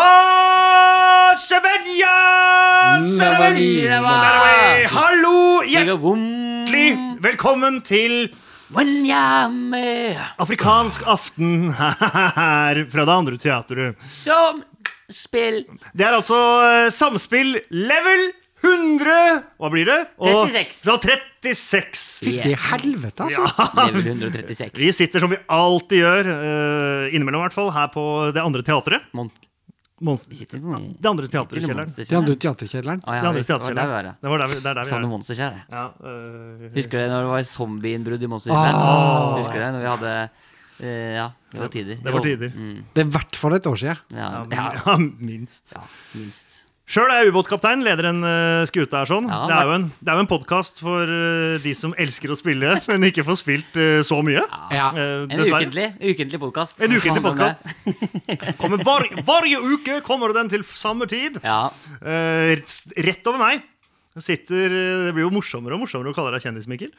Ha Sevenya! Sevenya! Hallo! Hjertelig velkommen til eh, afrikansk aften her fra det andre teatret. Som spill Det er altså eh, samspill level 100 Hva blir det? Og- 36. Fra 36. Yes. Fytti helvete, altså. level 136. Ah. Vi sitter som vi alltid gjør, eh, innimellom i hvert fall, her på det andre teatret. Mon- Monst- sitter i Mon- Det andre sitter i teaterkjelleren. Monsterkjelleren. De andre teaterkjelleren. Å, ja, Det andre vi- det Sånn var der vi var, teaterkjelleren. ja. Det var der vi, det er der vi Sa er. du monsterkjær? ja? Ja, øh, Husker du det når det var zombieinnbrudd i Ah. monsterkjelleren? Husker du det når vi hadde eh, Ja, det var tider. det var tider. Mm, Det er i hvert fall et år siden. ja, ja, ja, minst. ja, minst. Sjøl er jeg ubåtkaptein, leder en uh, skute her sånn. Ja, det, er jo en, det er jo en podkast for eh, de som elsker å spille, men ikke får spilt eh, så mye. Ja. Eh, En dessverre. ukentlig, ukentlig podkast. En ukentlig podkast. Kommer var, varje uke kommer den til samme tid. Ja. Eh, rett over meg sitter eh, Det blir jo morsommere og morsommere å kalle deg kjendis, Mikkel.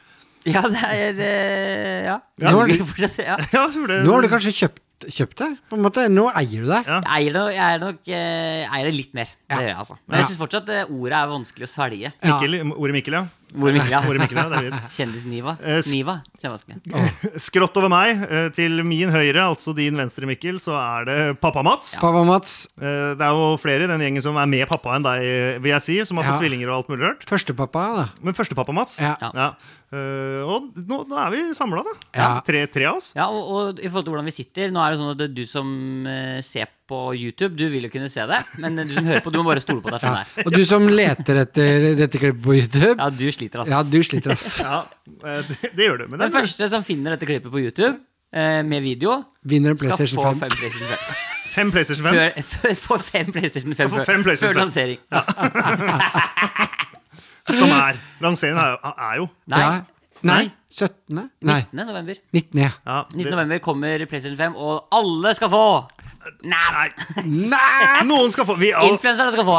ja, det er eh, Ja. Ja, Nå men- kan vi fortsette, ja. Ja, for det, Nå har du kanskje kjøpt, kjøpt det? På en måte, Nå eier du det. Ja. Jeg eier, det- jeg eier nok eh, jeg eier det litt mer. Det gjør jeg, altså. Men jeg syns fortsatt eh, ordet er vanskelig å svelge. Ja. Mikkel, Ordet Mikkel, ja. Hvor Mikkel, ja. Ordet Mikkel, ja, det er fint. Kjendis-Niva. Eh, sk- Niva. Kjempevanskelig. Skrått over meg, eh, til min høyre, altså din venstre, Mikkel, så er det pappa Mats. Pappa Mats, Eh, Det er jo flere i den gjengen som er med pappa enn deg, eh, vil jeg si, som har fått Ja. tvillinger og alt mulig rørt. førstepappa, da. Men første pappa, Mats. Ja. Ja. Eh, og nå, nå er vi samla, da. Ja. Tre, tre av oss. Ja, og, og i forhold til hvordan vi sitter Nå er det sånn at du som eh, ser på YouTube, du vil jo kunne se det. Men du som hører på, du må bare stole på deg Ja. selv her. Og du som leter etter dette klippet på YouTube, Ja, du sliter, altså. ja, du sliter, ass. Ja, eh, det, det gjør du. Men det, Den første som finner dette klippet på YouTube eh, med video, Vinner en skal PlayStation få 5. fem PlayStation 5. fem PlayStation 5. Før, før, får fem PlayStation 5 får før, fem PlayStation før 5. lansering. Som er Lanseringen er, jo- er jo Nei. Ja. Nei. 17.? Nei. 19. november. 19. Ja. ja, 19. det, november kommer PlayStation 5, og alle skal få! Nei! Nei! Noen skal få vi, og, Influenserne skal få.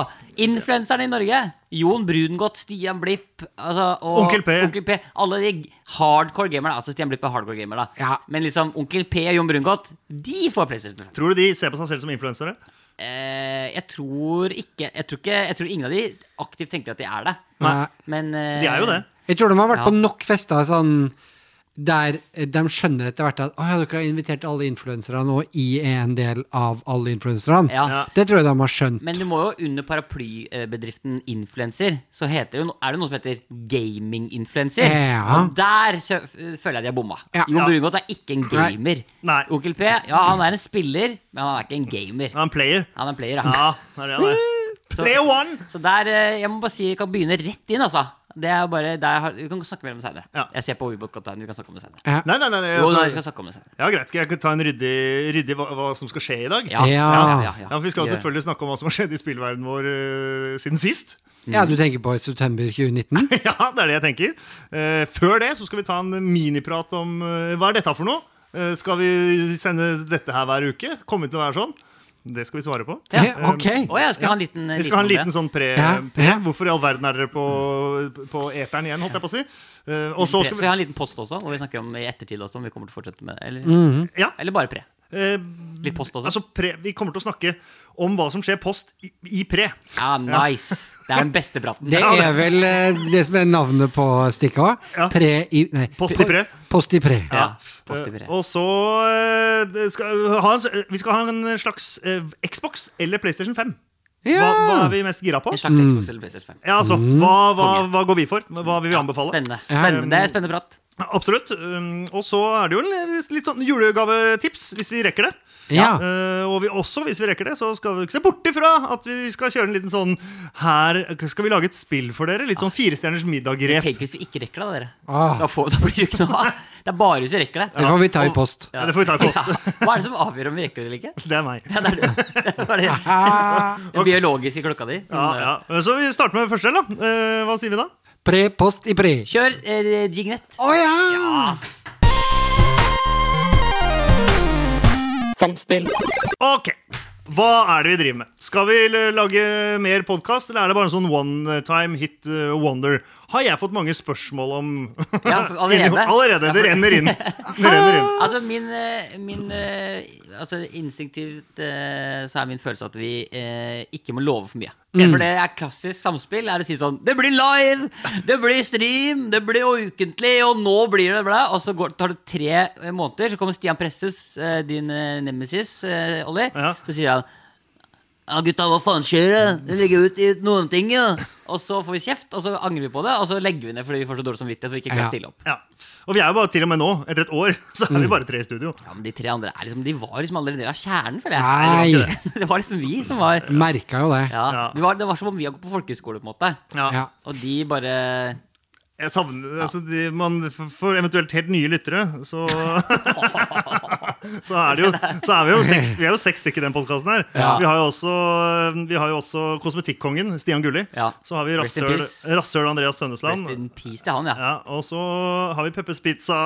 Influenserne i Norge. Jon Brungot, Stian Blipp altså, og Onkel P. Alle de hardcore gamerne. Altså Stian Blipp er hardcore gamer, da. Ja. Men liksom Onkel P og Jon Brungot, de får PlayStation 5. Tror du de ser på seg selv som influensere? Eh, jeg tror ikke jeg tror ikke Jeg tror ingen av de aktivt tenker at de er det. Nei. Men eh, De er jo det. Jeg tror de har vært Ja. på nok fester sånn, der de skjønner etter hvert at «Å ja, dere har invitert alle influenserne, og I er en del av alle influenserne. Ja. Ja. Det tror jeg de har skjønt. Men du må jo under paraplybedriften Influencer, så heter det jo, no- er det noe som heter gaming-influencer. Ja. Og der sø- f- føler jeg de har bomma. Ja. Jon Ja. Brungot er ikke en gamer. Nei. Onkel P, ja, han er en spiller, men han er ikke en gamer. Ja, en player. Han er en player, ja. Ja, det er det han er. Så- Player one! Så der, eh, jeg må bare si, vi kan begynne rett inn, altså. Det er bare, der har, vi kan snakke mer om det senere. Ja. Jeg ser på Ubåtkapteinen, vi kan snakke om det senere. Ja. Nei, nei, nei, nei Jo, nei, vi altså, skal snakke om det senere. ja, greit. Skal jeg ta en ryddig, ryddig hva, hva som skal skje i dag? Ja, Ja. Ja, for Vi skal Gjør det. selvfølgelig snakke om hva som har skjedd i spillverdenen vår eh, siden sist. Ja, du tenker på september 2019? ja, det er det jeg tenker. Eh, før det så skal vi ta en miniprat om eh, hva er dette for noe. Eh, skal vi sende dette her hver uke? Kommer det til å være sånn? Det skal vi svare på. Ja. Eh, Ok. Å ja, skal vi ha en liten eh, Vi skal ha en liten- liten sånn pre... Ja, pre. ja. Hvorfor i all verden er dere på, på eteren igjen, holdt jeg på å si? Eh, og så pre. skal Skal vi vi ha en liten post også, hvor vi snakker om i ettertid også, om vi kommer til å fortsette med det? Eller, Mhm. Ja. eller bare pre? eh, Litt post også? altså pre, Vi kommer til å snakke om hva som skjer post i, i pre. Ja, Ah, nice! Det er den beste praten. Det er vel eh, det som er navnet på stikket òg. Ja. Pre i Nei. Post i pre. Post i pre. ja, Eh, positiv pre. og så eh, det skal vi ha en, s- eh, Vi skal ha en slags eh, Xbox eller PlayStation 5. Hva, Ja. hva er vi mest gira på? En slags Xbox eller PlayStation 5. Ja, altså, hva, hva, Mm. Konge. hva går vi for? Hva vil vi anbefale? Spennende. spennende. Det er spennende prat. Absolutt. Um, og så er det jo en litt sånn julegavetips, hvis vi rekker det. Ja. Eh, og vi også, hvis vi rekker det, så skal vi ikke se bort ifra at vi skal kjøre en liten sånn Her skal vi lage et spill for dere. Litt Ah. sånn Firestjerners middag-grep. Tenk hvis vi ikke rekker det, dere. Ah. Da, får, da blir det ikke noe av. Det er bare hvis vi rekker det. Det får vi ta i post. Ja, det får vi ta i post. Hva er det som avgjør om vi rekker det eller ikke? Det er meg. Ja, det er det. Det var det. Ah, Den biologiske klokka di. Ja, ja. Så vi starter med første del, da. Eh, hva sier vi da? Pre, post i pre. Kjør eh, jignett. Å ja! Ass. Samspill. Ok. Hva er det vi driver med? Skal vi l- lage mer podkast, eller er det bare en sånn one time hit uh, wonder? Har jeg fått mange spørsmål om Ja, for allerede. Allerede, Det Ja, for- renner inn. Det renner inn. Altså, min, eh, min eh, altså, Instinktivt eh, så er min følelse at vi eh, ikke må love for mye. For det er klassisk samspill. er å si sånn Det blir live! Det blir stream! Det blir ukentlig! Og nå blir det bla! Og så går, tar det tre eh, måneder, så kommer Stian Presthus, eh, din eh, nemesis, eh, Olli, Ja. så sier han ja, gutta, hva faen skjer? det? Det ligger ut i noen ting, ja. Og så får vi kjeft, og så angrer vi på det, og så legger vi ned fordi vi får så dårlig samvittighet. Så vi ikke Ja. kan stille opp Ja. Og vi er jo bare til og med nå, etter et år, så er vi bare tre i studio. Ja, men De tre andre er liksom, de var liksom allerede en del av kjernen, føler Nei. jeg. Det var liksom vi som var Merka jo det. ja. vi var, Det var som om vi hadde gått på folkehøyskole, på en måte. Ja. Ja. Og de bare Jeg savner altså, de, man, for, for eventuelt helt nye lyttere, så Så er det jo så er vi, jo seks, vi er jo seks stykker i den podkasten her. Ja. Vi, har jo også, vi har jo også kosmetikkongen Stian Gulli. Ja. Så har vi Rest in rasshøl peace. rasshøl Andreas Rest Tønnesland. in peace til han, ja. Ja, og så har vi Peppers Pizza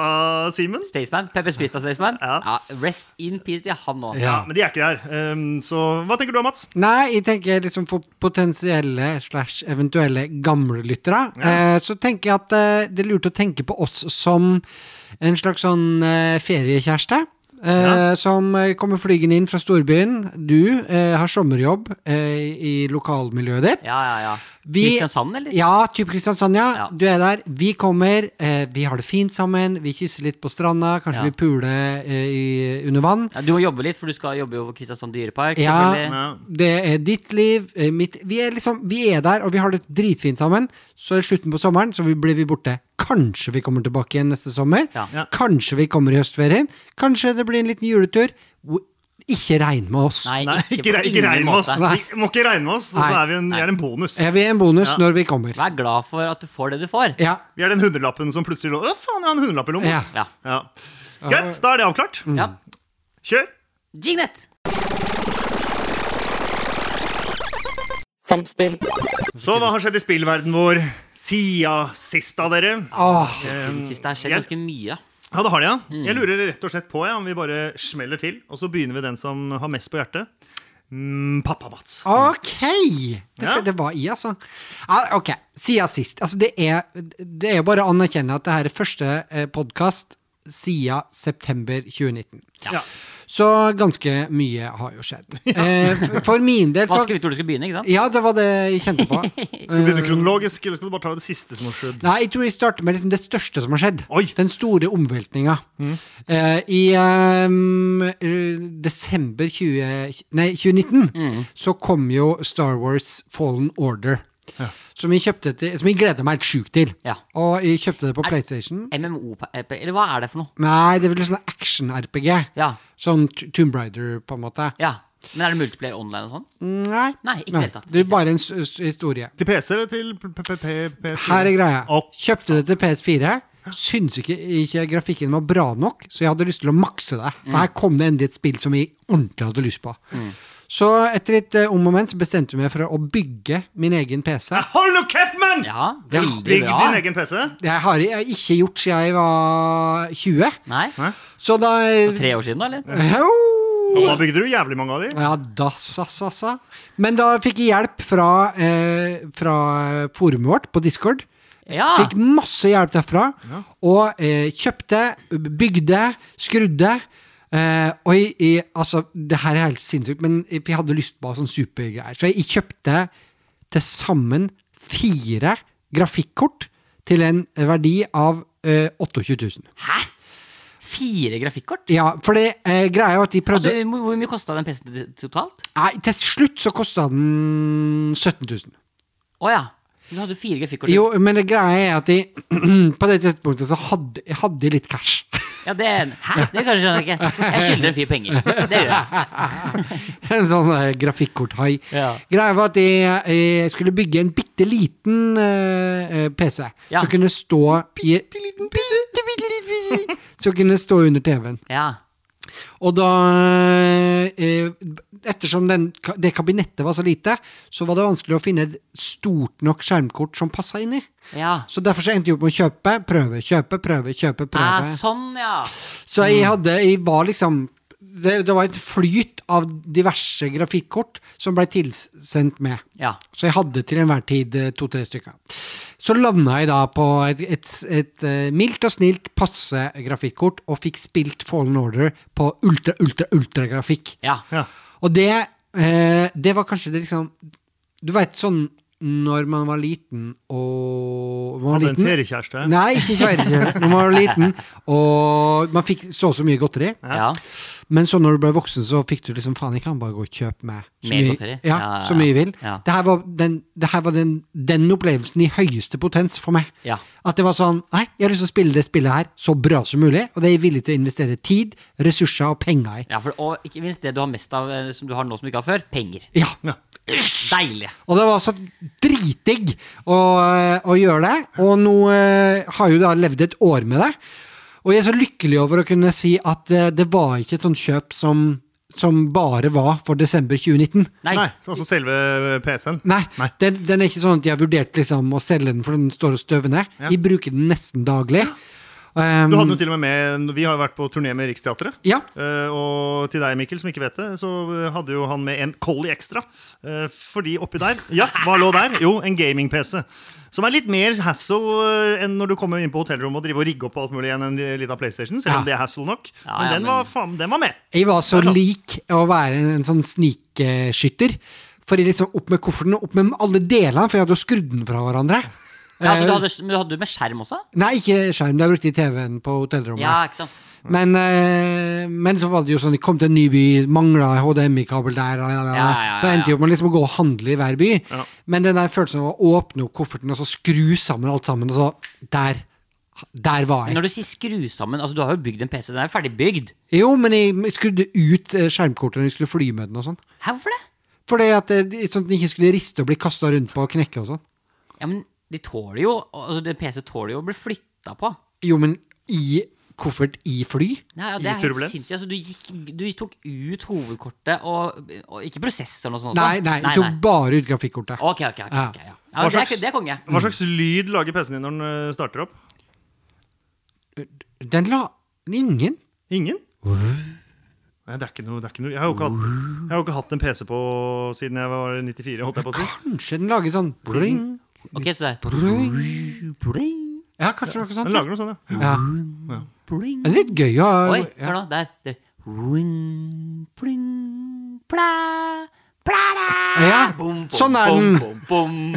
Simen. Staysman. Pepper Spista Staysman. Ja. Ja, rest in peace til han nå. Ja, men de er ikke her. Ehm, så hva tenker du Mats? Nei, jeg tenker liksom for potensielle slash eventuelle gamle lyttere. Eh, så tenker jeg at eh, det er lurt å tenke på oss som en slags sånn eh, feriekjæreste. Eh, Ja. Som eh, kommer flygende inn fra storbyen. Du eh, har sommerjobb eh, i lokalmiljøet ditt. Ja, ja, ja. Vi- Kristiansand, eller? Ja, type Kristiansand, ja. Ja. Du er der. Vi kommer, eh, vi har det fint sammen, vi kysser litt på stranda, kanskje Ja. vi puler eh, i, under vann. Ja, du må jobbe litt, for du skal jobbe jo på Kristiansand dyrepark. Ja. selvfølgelig. Ja. Det er ditt liv, eh, mitt Vi er liksom, vi er der, og vi har det dritfint sammen. Så er det slutten på sommeren, så vi blir vi borte. Kanskje vi kommer tilbake igjen neste sommer. Ja. Ja. Kanskje vi kommer i høstferien. Kanskje det blir en liten juletur. Wo- Ikke regn med oss. Nei, Nei, ikke, ikke, re- på ikke ingen regn med oss. måte. Nei. Vi må ikke regne med oss, så, så Nei. er vi en, vi er en bonus. Er vi en Ja. bonus når vi kommer? Vær glad for at du får det du får. Ja. Vi er den hundrelappen som plutselig lå Å, faen, jeg har en hundrelapp i lomma. Ja. Ja. Ja. Greit, da er det avklart. ja. Kjør. Jignet! Samspill. Så hva har skjedd i spillverden vår siden sist av dere? Åh. Siden sist det har skjedd jeg- ganske mye. da. Ja, det har de, ja. Jeg lurer rett og slett på ja, om vi bare smeller til, og så begynner vi den som har mest på hjertet. Mm, pappa Mats. Ok! Det, Ja. det var i, altså. Ja, Ok, siden sist. Altså, det er det er jo bare å anerkjenne at det her er første podkast siden september 2019. Ja. Så ganske mye har jo skjedd. Eh, f- for min del så Vanskelig å vite hvor du skal begynne, ikke sant? Ja, det var det jeg kjente på. Skal du begynne kronologisk, eller skal du bare ta det siste som har skjedd? Nei, jeg tror jeg starter med liksom det største som har skjedd. Oi. Den store omveltninga. Mm. Eh, I ehm, eh, desember 20, nei, 2019 Mm. så kom jo Star Wars Fallen Order. Som jeg, kjøpte til, som jeg gleder meg helt sjukt til. Ja. Og jeg kjøpte det på PlayStation. MMO, eller hva er det for noe? Nei, det er vel sånn action-RPG. Ja. Sånn T- Tomb Raider, på en måte. Ja, Men er det multiplayer online og sånn? Nei. Nei, ikke i det hele tatt. Det er bare en s- s- historie. Til PC eller til p- p- p- PC? Her er greia. Opp. Kjøpte det til PS4. Syns ikke, ikke grafikken var bra nok, så jeg hadde lyst til å makse det. Mm. For her kom det endelig et spill som jeg ordentlig hadde lyst på. Så etter et eh, om moment så bestemte jeg meg for å bygge min egen PC. Hold nå kjeft, mann! Ja, veldig Bygg bra. din egen PC. Det har jeg ikke gjort siden jeg var 20. Nei? Så da Tre år siden, da, eller? Au! Og da bygde du jævlig mange av de. Ja, dassasassa. Men da fikk jeg hjelp fra, eh, fra forumet vårt på Discord. Ja. Fikk masse hjelp derfra. Og eh, kjøpte, bygde, skrudde. Eh, og jeg, jeg, altså, det her er helt sinnssykt, men jeg, jeg hadde lyst på sånn supergreier. Så jeg, jeg kjøpte til sammen fire grafikkort til en verdi av eh, 28 000. Hæ? Fire grafikkort? Ja, for det eh, greia er jo at de Altså, prøvde hvor hvor mye kosta den PC-en til- totalt? Nei, til slutt så kosta den 17 000. Å ja. Du hadde fire grafikkort. Jo, men det greia er at de, på det tidspunktet så hadde jeg hadde litt cash. Ja, det Hæ? Det kan jeg skjønne ikke. Jeg skylder en fyr penger. Det gjør jeg. En sånn eh, grafikkorthai. Ja. Greia var at jeg, eh, jeg skulle bygge en bitte liten eh, eh, PC Ja. som kunne stå i, bitte, liten bitte, liten PC. Som kunne stå under TV-en. Ja. Og da eh, Ettersom den, ka- det kabinettet var så lite, så var det vanskelig å finne et stort nok skjermkort som passa inni. ja. Så derfor så endte jeg opp med å kjøpe, prøve, kjøpe, prøve, kjøpe, Ah, prøve. sånn, ja. Så jeg hadde Jeg var liksom det, det var et flyt av diverse grafikkort som blei tilsendt med. Ja. Så jeg hadde til enhver tid eh, to-tre stykker. Så landa jeg da på et, et, et eh, mildt og snilt passe grafikkort, og fikk spilt Fallen Order på ultra, ultra, ultragrafikk. Ja. Ja. Og det, eh, det var kanskje det liksom Du veit sånn når man var liten og man var Hadde en liten- feriekjæreste. Nei, ikke kjæreste. Når man var liten, og man fikk så og så mye godteri. ja. Men så når du ble voksen, så fikk du liksom faen, jeg kan bare gå og kjøpe meg så Mer mye, godteri? ja, Ja, ja, så mye jeg vil. ja. Det her var, den, det her var den, den opplevelsen i høyeste potens for meg. Ja. At det var sånn Nei, jeg har lyst til å spille det spillet her så bra som mulig, og det er jeg villig til å investere tid, ressurser og penger i. ja for, og ikke minst det du har mest av eh, som du har nå som du ikke har før. Penger. Ja. Deilig. Og det var så dritdigg å, eh, å gjøre det. Og nå eh, har jeg jo da levd et år med det. Og jeg er så lykkelig over å kunne si at eh, det var ikke et sånt kjøp som, som bare var for desember 2019. Nei. Nei, altså selve PC-en. Nei, Nei. Den, den er ikke sånn at jeg har vurdert liksom, å selge den, for den står og støver ned. Ja. Jeg bruker den nesten daglig. Um, Du hadde jo til og med med Vi har jo vært på turné med Riksteatret. Ja. Eh, og til deg, Mikkel, som ikke vet det, så eh, hadde jo han med en kolli ekstra. Eh, fordi oppi der Ja, hva lå der? Jo, en gaming-PC. Som er litt mer hassle eh, enn når du kommer inn på hotellrommet og driver og rigger opp alt mulig enn en liten PlayStation. Selv om Ja. det er hassle nok. Ja, men ja, den men- var, faen, den var med. Jeg var så Ja, da. lik å være en, en sånn snikskytter. For jeg liksom opp med kofferten og opp med alle delene, for jeg hadde jo skrudd den fra hverandre. Ja, altså, du Eh, hadde, men du hadde med skjerm også? Nei, ikke skjerm. Det brukte jeg TV-en på hotellrommet. Ja, ikke sant? Men, eh, men så var det jo sånn, jeg kom til en ny by, mangla HDMI-kabel der, la, la, la. Ja, ja, ja, så endte jeg opp med liksom å gå og handle i hver by. Ja. Men den der følelsen av å åpne opp kofferten og så skru sammen alt sammen, og så Der! Der var Men jeg. Når du sier skru sammen Altså, du har jo bygd en PC. Den er jo ferdig bygd. Jo, men jeg, jeg skrudde ut eh, skjermkortet når jeg skulle fly med den og sånn. Hæ, hvorfor det? Fordi at eh, Sånn at den ikke skulle riste og bli kasta rundt på og knekke og sånn. Ja, men de tåler jo Altså, den PC tåler jo å bli flytta på. Jo, men i koffert i fly? Ja, ja, I det er helt turbulens. sinnssykt. Altså, du, gikk, du tok ut hovedkortet og, og Ikke prosessoren og sånn også? Nei, nei, jeg tok bare ut grafikkortet. Ok, ok. ok, Ja. ok, ja. Ja, men Hva det, slags- er, det er konge. Hva slags lyd lager PC-en din når den eh, starter opp? Den la Ingen. Ingen? Nei, det er ikke noe, det er ikke noe. Jeg, har jo ikke hatt, jeg har jo ikke hatt en PC på siden jeg var 94, holdt jeg på å si. Kanskje den lager sånn bling, Ok, så det er bling. Pling, Ja, kanskje noe sånt. Den lager noe sånt, ja. Ja. pling. Det er litt gøy å Oi, ja. hør nå. Der. Det Ring, pling, plæ, plæ, da. Ja, Bom, bom, sånn er bom, den. bom,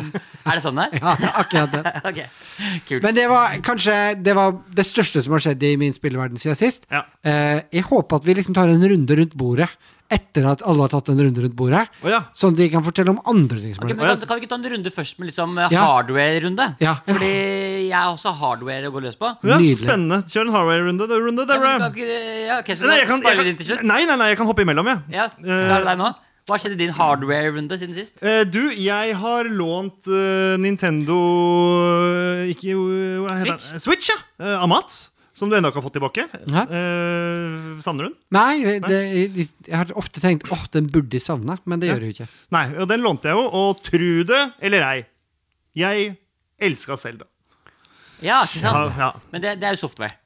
bom. Er det sånn der? ja, akkurat det. Ok, kult. Men det var kanskje det, var det største som har skjedd i min spilleverden siden sist. Ja. Eh, jeg håper at vi liksom tar en runde rundt bordet etter at alle har tatt en runde rundt bordet. Å ja. Sånn at de kan fortelle om andre ting. som Ok, har men kan, kan vi ikke ta en runde først med liksom eh, Ja. hardware-runde? Ja. Fordi jeg har også hardware å gå løs på. ja Nydelig. spennende. Kjør en Hardware-runde. det er runde, det Ja, er men runde. kan ikke, ja, ok, så Nei, da jeg kan, sparer vi jeg den til kan, Eh. slutt. nei, nei, nei, jeg kan hoppe imellom, jeg. Ja, da er det deg nå. Hva skjedde i din hardware-runde siden sist? Eh, du, jeg har lånt eh, Nintendo eh, Ikke eh, hva heter Switch? den? Switch, ja. Eh, Amat. Som du ennå ikke har fått tilbake. Ja. Eh, savner du den? Nei, det, jeg, jeg har ofte tenkt åh, den burde jeg savne, men det gjør jeg jo ikke. Nei, og den lånte jeg jo. Og tru det eller ei, jeg elska Selda. Ja, ikke sant? Ja, ja. Men det, det er jo software.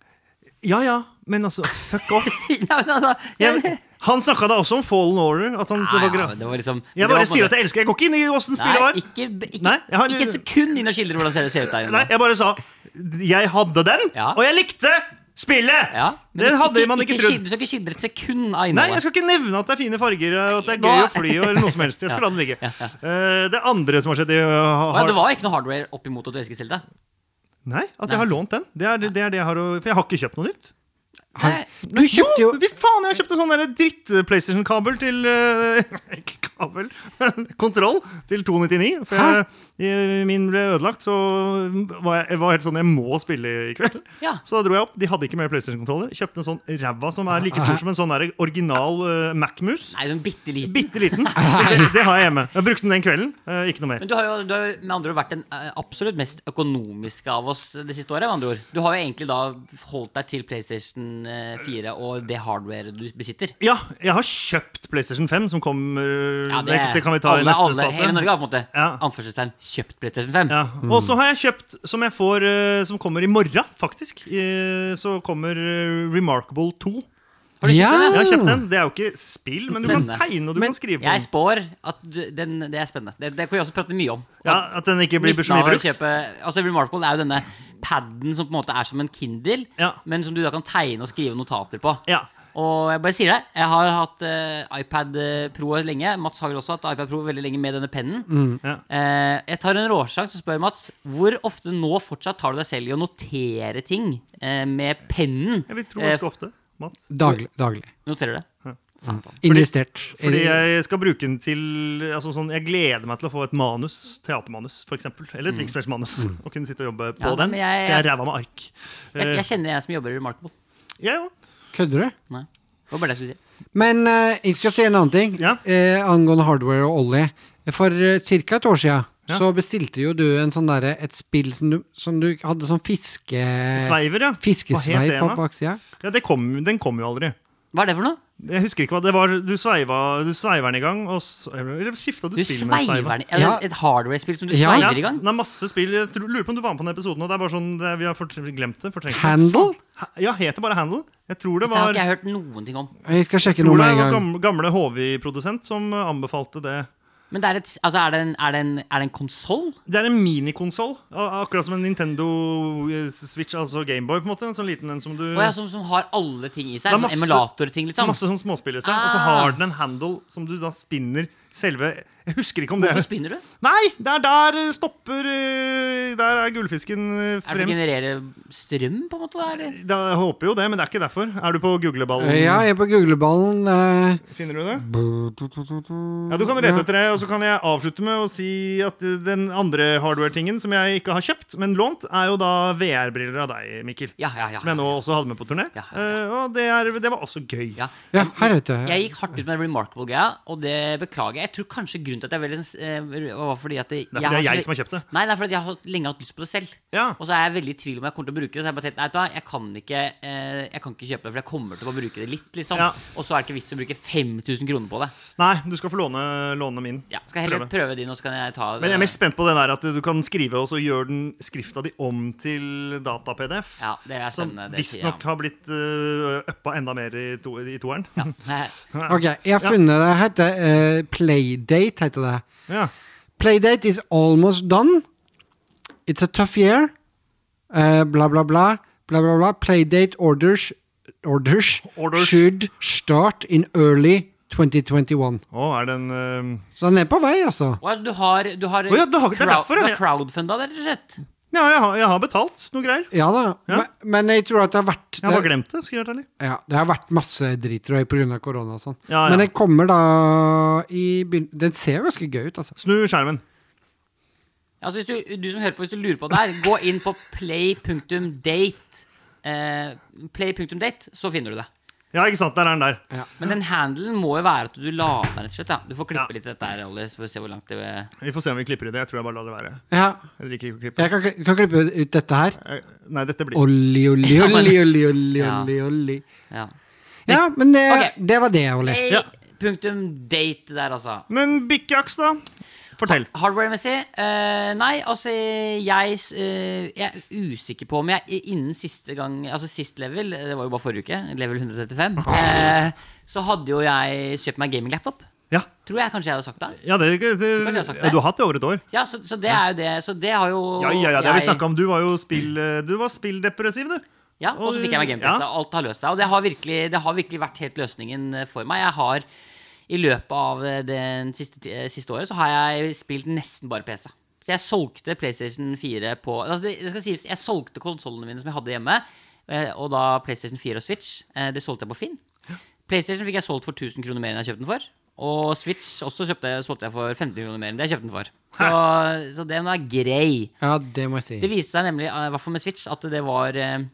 Ja ja, men altså, fuck off. ja, men altså, Jeg, han snakka da også om Fallen Order. At han, Ja, det var ja, gra- det var liksom jeg bare sier at jeg elsker Jeg går ikke inn i åssen spillet var. Ikke, ikke, Nei, jeg har- ikke et sekund inn og skildre hvordan det ser ut Nei, der. inne. jeg bare sa Jeg hadde den, Ja. og jeg likte spillet! Ja, men den hadde man ikke, skildre- trodd. Du skal ikke skildre et sekund av Nei, jeg innholdet. skal ikke nevne at det er fine farger og at det er Nei, gøy nå- å fly. og noe som helst Jeg skal la den ligge Eh, Det andre som har skjedd i, uh, Å, ja, har, det var ikke noe hardware opp imot at du elsker Selda? Nei, At jeg har lånt den. Det er det, det er det jeg har å For jeg har ikke kjøpt noe nytt. Nei, Du kjøpte jo Jo, visst faen! Jeg kjøpte sånn der dritt-PlayStation-kabel til eh, Ikke kabel, men kontroll til 299. For jeg, jeg- min ble ødelagt, så var jeg, jeg var helt sånn Jeg må spille i kveld. Ja. Så da dro jeg opp. De hadde ikke mer PlayStation-kontroller. Kjøpte en sånn ræva som er like stor som en sånn der original eh, Mac-mus. nei sånn bitte liten. Bitte liten. Så det, det har jeg hjemme. Jeg brukte den den kvelden. eh, ikke noe mer. Men du har jo du har jo med andre ord vært den eh, absolutt mest økonomiske av oss det siste året. med andre ord Du har jo egentlig da holdt deg til PlayStation eh, 4 og det hardwaret du besitter. Ja, jeg har kjøpt PlayStation 5, som kommer Ja, det, det kan vi ta i alle, neste alle, spalte. Hele Norge har på en måte Ja. anførselstegn kjøpt PlayStation 5. Ja. Og så har jeg kjøpt, som jeg får eh, Som kommer i morgen, faktisk. eh, Så kommer eh, Remarkable 2. Har du kjøpt Ja. den? Jeg har kjøpt den. Det er jo ikke spill, men du kan Spennende. tegne og du Men kan skrive ja? på Jeg den. spår at du, den, det er spennende. Det, det kan vi også prate mye om. Ja, At den ikke blir Nytten så mye av å brukt. Kjøpe, altså Remarkable er jo denne paden som på en måte er som en Kindle, Ja. men som du da kan tegne og skrive notater på. Ja. Og jeg bare sier det, jeg har hatt eh, iPad Pro lenge. Mats har vel også hatt iPad Pro veldig lenge med denne pennen. Mm. Ja. Eh, jeg tar en råsjanse og spør Mats hvor ofte nå fortsatt tar du deg selv i å notere ting eh, med pennen. Jeg vil tro Eh, ganske ofte. Mats. Daglig. daglig. noterer du det? Mm. Satan. Investert. Fordi eh, jeg skal bruke den til altså sånn, Jeg gleder meg til å få et manus, teatermanus f.eks. Eller et Riksfjellsmanus. Og kunne sitte og jobbe på Mm. Ja, den. men For jeg- jeg er ræva med ark. Jeg, Eh, jeg kjenner jeg som jobber i Remarkable. jeg òg. Kødder du? Nei. Det var bare det jeg skulle si. Men eh, jeg skal si en annen ting Ja. eh, angående hardware og olje. For uh, ca. et år siden Ja. så bestilte jo du en sånn derre- et spill som du, som du hadde sånn fiske... Sveiver, ja. Hva het Fiskesvei det på nå? baksida. ja det kom, den kom jo aldri. Hva er det for noe? Jeg husker ikke hva det var. Du sveiva, du sveiva den i gang, og s- eller skifta du, Du spill med sveiver sveiva. den ja. Ja. det er Et hardware-spill som du Ja. sveiver i gang? det er masse spill. Jeg tror- lurer på om du var med på den episoden. Og det er bare sånn, det, er- vi har fort, glemt det. fortrengt det. Handle? Ha, ja, het det bare Handle? Jeg tror det Det har var, ikke jeg hørt noen ting om. Jeg skal sjekke tror noe det med en var gang. gamle, gamle HV-produsent som eh, anbefalte det. Men det er, et, altså, er det en, er det en, er det en konsoll? Det er en minikonsoll, a- akkurat som en Nintendo eh, Switch, altså Gameboy. på en måte En sånn liten en som du Å ja, som, som har alle ting i Det seg? er Sånn masse- emulatorting, liksom? Masse sånn småspill i seg. Og så Ah. har den en handle som du da spinner selve Jeg husker ikke om det Hvorfor spinner du? Nei, det er der eh, stopper eh, Der er gullfisken eh, Er det for å fremst. generere strøm, på en måte? da, Eller? Da, jeg håper jo det, men det er ikke derfor. Er du på googleballen? Ja, jeg er på googleballen. eh, Finner du det? Ja, Ja, Du kan lete etter det, og så kan jeg avslutte med å si at eh, den andre hardware-tingen som jeg ikke har kjøpt, men lånt, er jo da VR-briller av deg, Mikkel. Ja, ja, ja. Som jeg nå også hadde med på turné. Ja, ja, ja. Eh, og det, er, det var også gøy. ja. Ja, her vet jeg. Jeg gikk hardt ut med Remarkable-greia, og det beklager jeg. Jeg tror kanskje grunnen til at jeg er veldig sens- eh, var fordi at altså det, Det er fordi det er jeg som har kjøpt det. Nei, det er fordi at jeg har lenge hatt lyst på det selv. Ja. Og så er jeg veldig i tvil om jeg kommer til å bruke det. Så jeg bare tenkte, nei, vet du hva, jeg kan ikke, eh, jeg kan ikke kjøpe det, for jeg kommer til å bruke det litt, liksom. Ja. Og så er det ikke vits å bruke 5000 kroner på det. Nei, du skal få låne, låne min. Ja, skal jeg heller Prøve. prøve din, og så kan jeg ta Men jeg er mest spent på den der at du kan skrive, og så gjør den skrifta di om til data-PDF. Ja, det er Som spennende. det sier jeg om. visstnok har blitt uh, uppa enda mer i, to, i toeren. Ja. Nei, Ok, jeg har funnet det. Heter, eh, Playdate heter det. Playdate is almost done. It's a tough year. Eh, bla, bla, bla. Bla, bla, bla. Playdate orders, orders, Orders. should start in early 2021. Å, er den uh, Så den er på vei, altså. Å, altså, du har, du har, Å ja, det har- det er crowd- derfor, du ja. har crowdfunda det, rett og slett. Ja, jeg har, jeg har betalt noe greier. Ja da. Ja. Men, men jeg tror at det har vært Jeg har bare det, glemt det. skal jeg være ærlig ja, det har vært masse drit tror jeg, på grunn av korona og sånn. Ja, ja. Men den kommer da i begyn- Den ser jo ganske gøy ut, altså. Snu skjermen. Altså, hvis du, du som hører på, hvis du lurer på det her, gå inn på play.date. Eh, play.date, så finner du det. Ja, ikke sant. Der er den der. Men den handelen må jo være at du lader den, rett og slett. Da. Du får klippe Ja. litt dette her, Olli, så får vi se hvor langt det Vi får se om vi klipper i det. Jeg tror jeg bare lar det være. Ja. Jeg liker ikke å klippe. Jeg kan, kli- kan klippe ut dette her. Jeg- Nei, dette blir Olli, olli, Ja, men- olli, olli, olli, Ja. olli, olli. Ja. Ja, men det, Ok. det var det, Olli. Ja. Play.date der, altså. Men Bikkjaks, da? Fortell. Hardware-messig? eh, nei, altså jeg, eh, jeg er usikker på om jeg innen siste gang Altså sist level, det var jo bare forrige uke, level 135, eh, så hadde jo jeg kjøpt meg gaming-laptop. Ja, Tror jeg kanskje jeg hadde sagt det. ja det, det, kanskje jeg har sagt det? ja, Du har hatt det i over et år. Ja, så, så det er jo det. Så det har jo Ja, ja, ja, det har vi jeg- snakket om. Du var jo spill, eh, du var spilldepressiv, du. Ja, og så fikk jeg meg GamePass, Ja. og alt har løst seg. Og det har, virkelig, det har virkelig vært helt løsningen eh, for meg. Jeg har i løpet av eh, den siste, ti- eh, siste året så har jeg spilt nesten bare PC. Så jeg solgte PlayStation 4 på altså det, det skal sies, Jeg solgte konsollene mine som jeg hadde hjemme, eh, og da PlayStation 4 og Switch. eh, Det solgte jeg på Finn. PlayStation fikk jeg solgt for 1000 kroner mer enn jeg kjøpte den for. Og Switch også kjøpte, jeg- solgte jeg for 1500 kroner mer enn det jeg kjøpte den for. Så, så den var grei. Ja, det må jeg si. Det viste seg nemlig, eh, i hvert fall med Switch, at det var eh,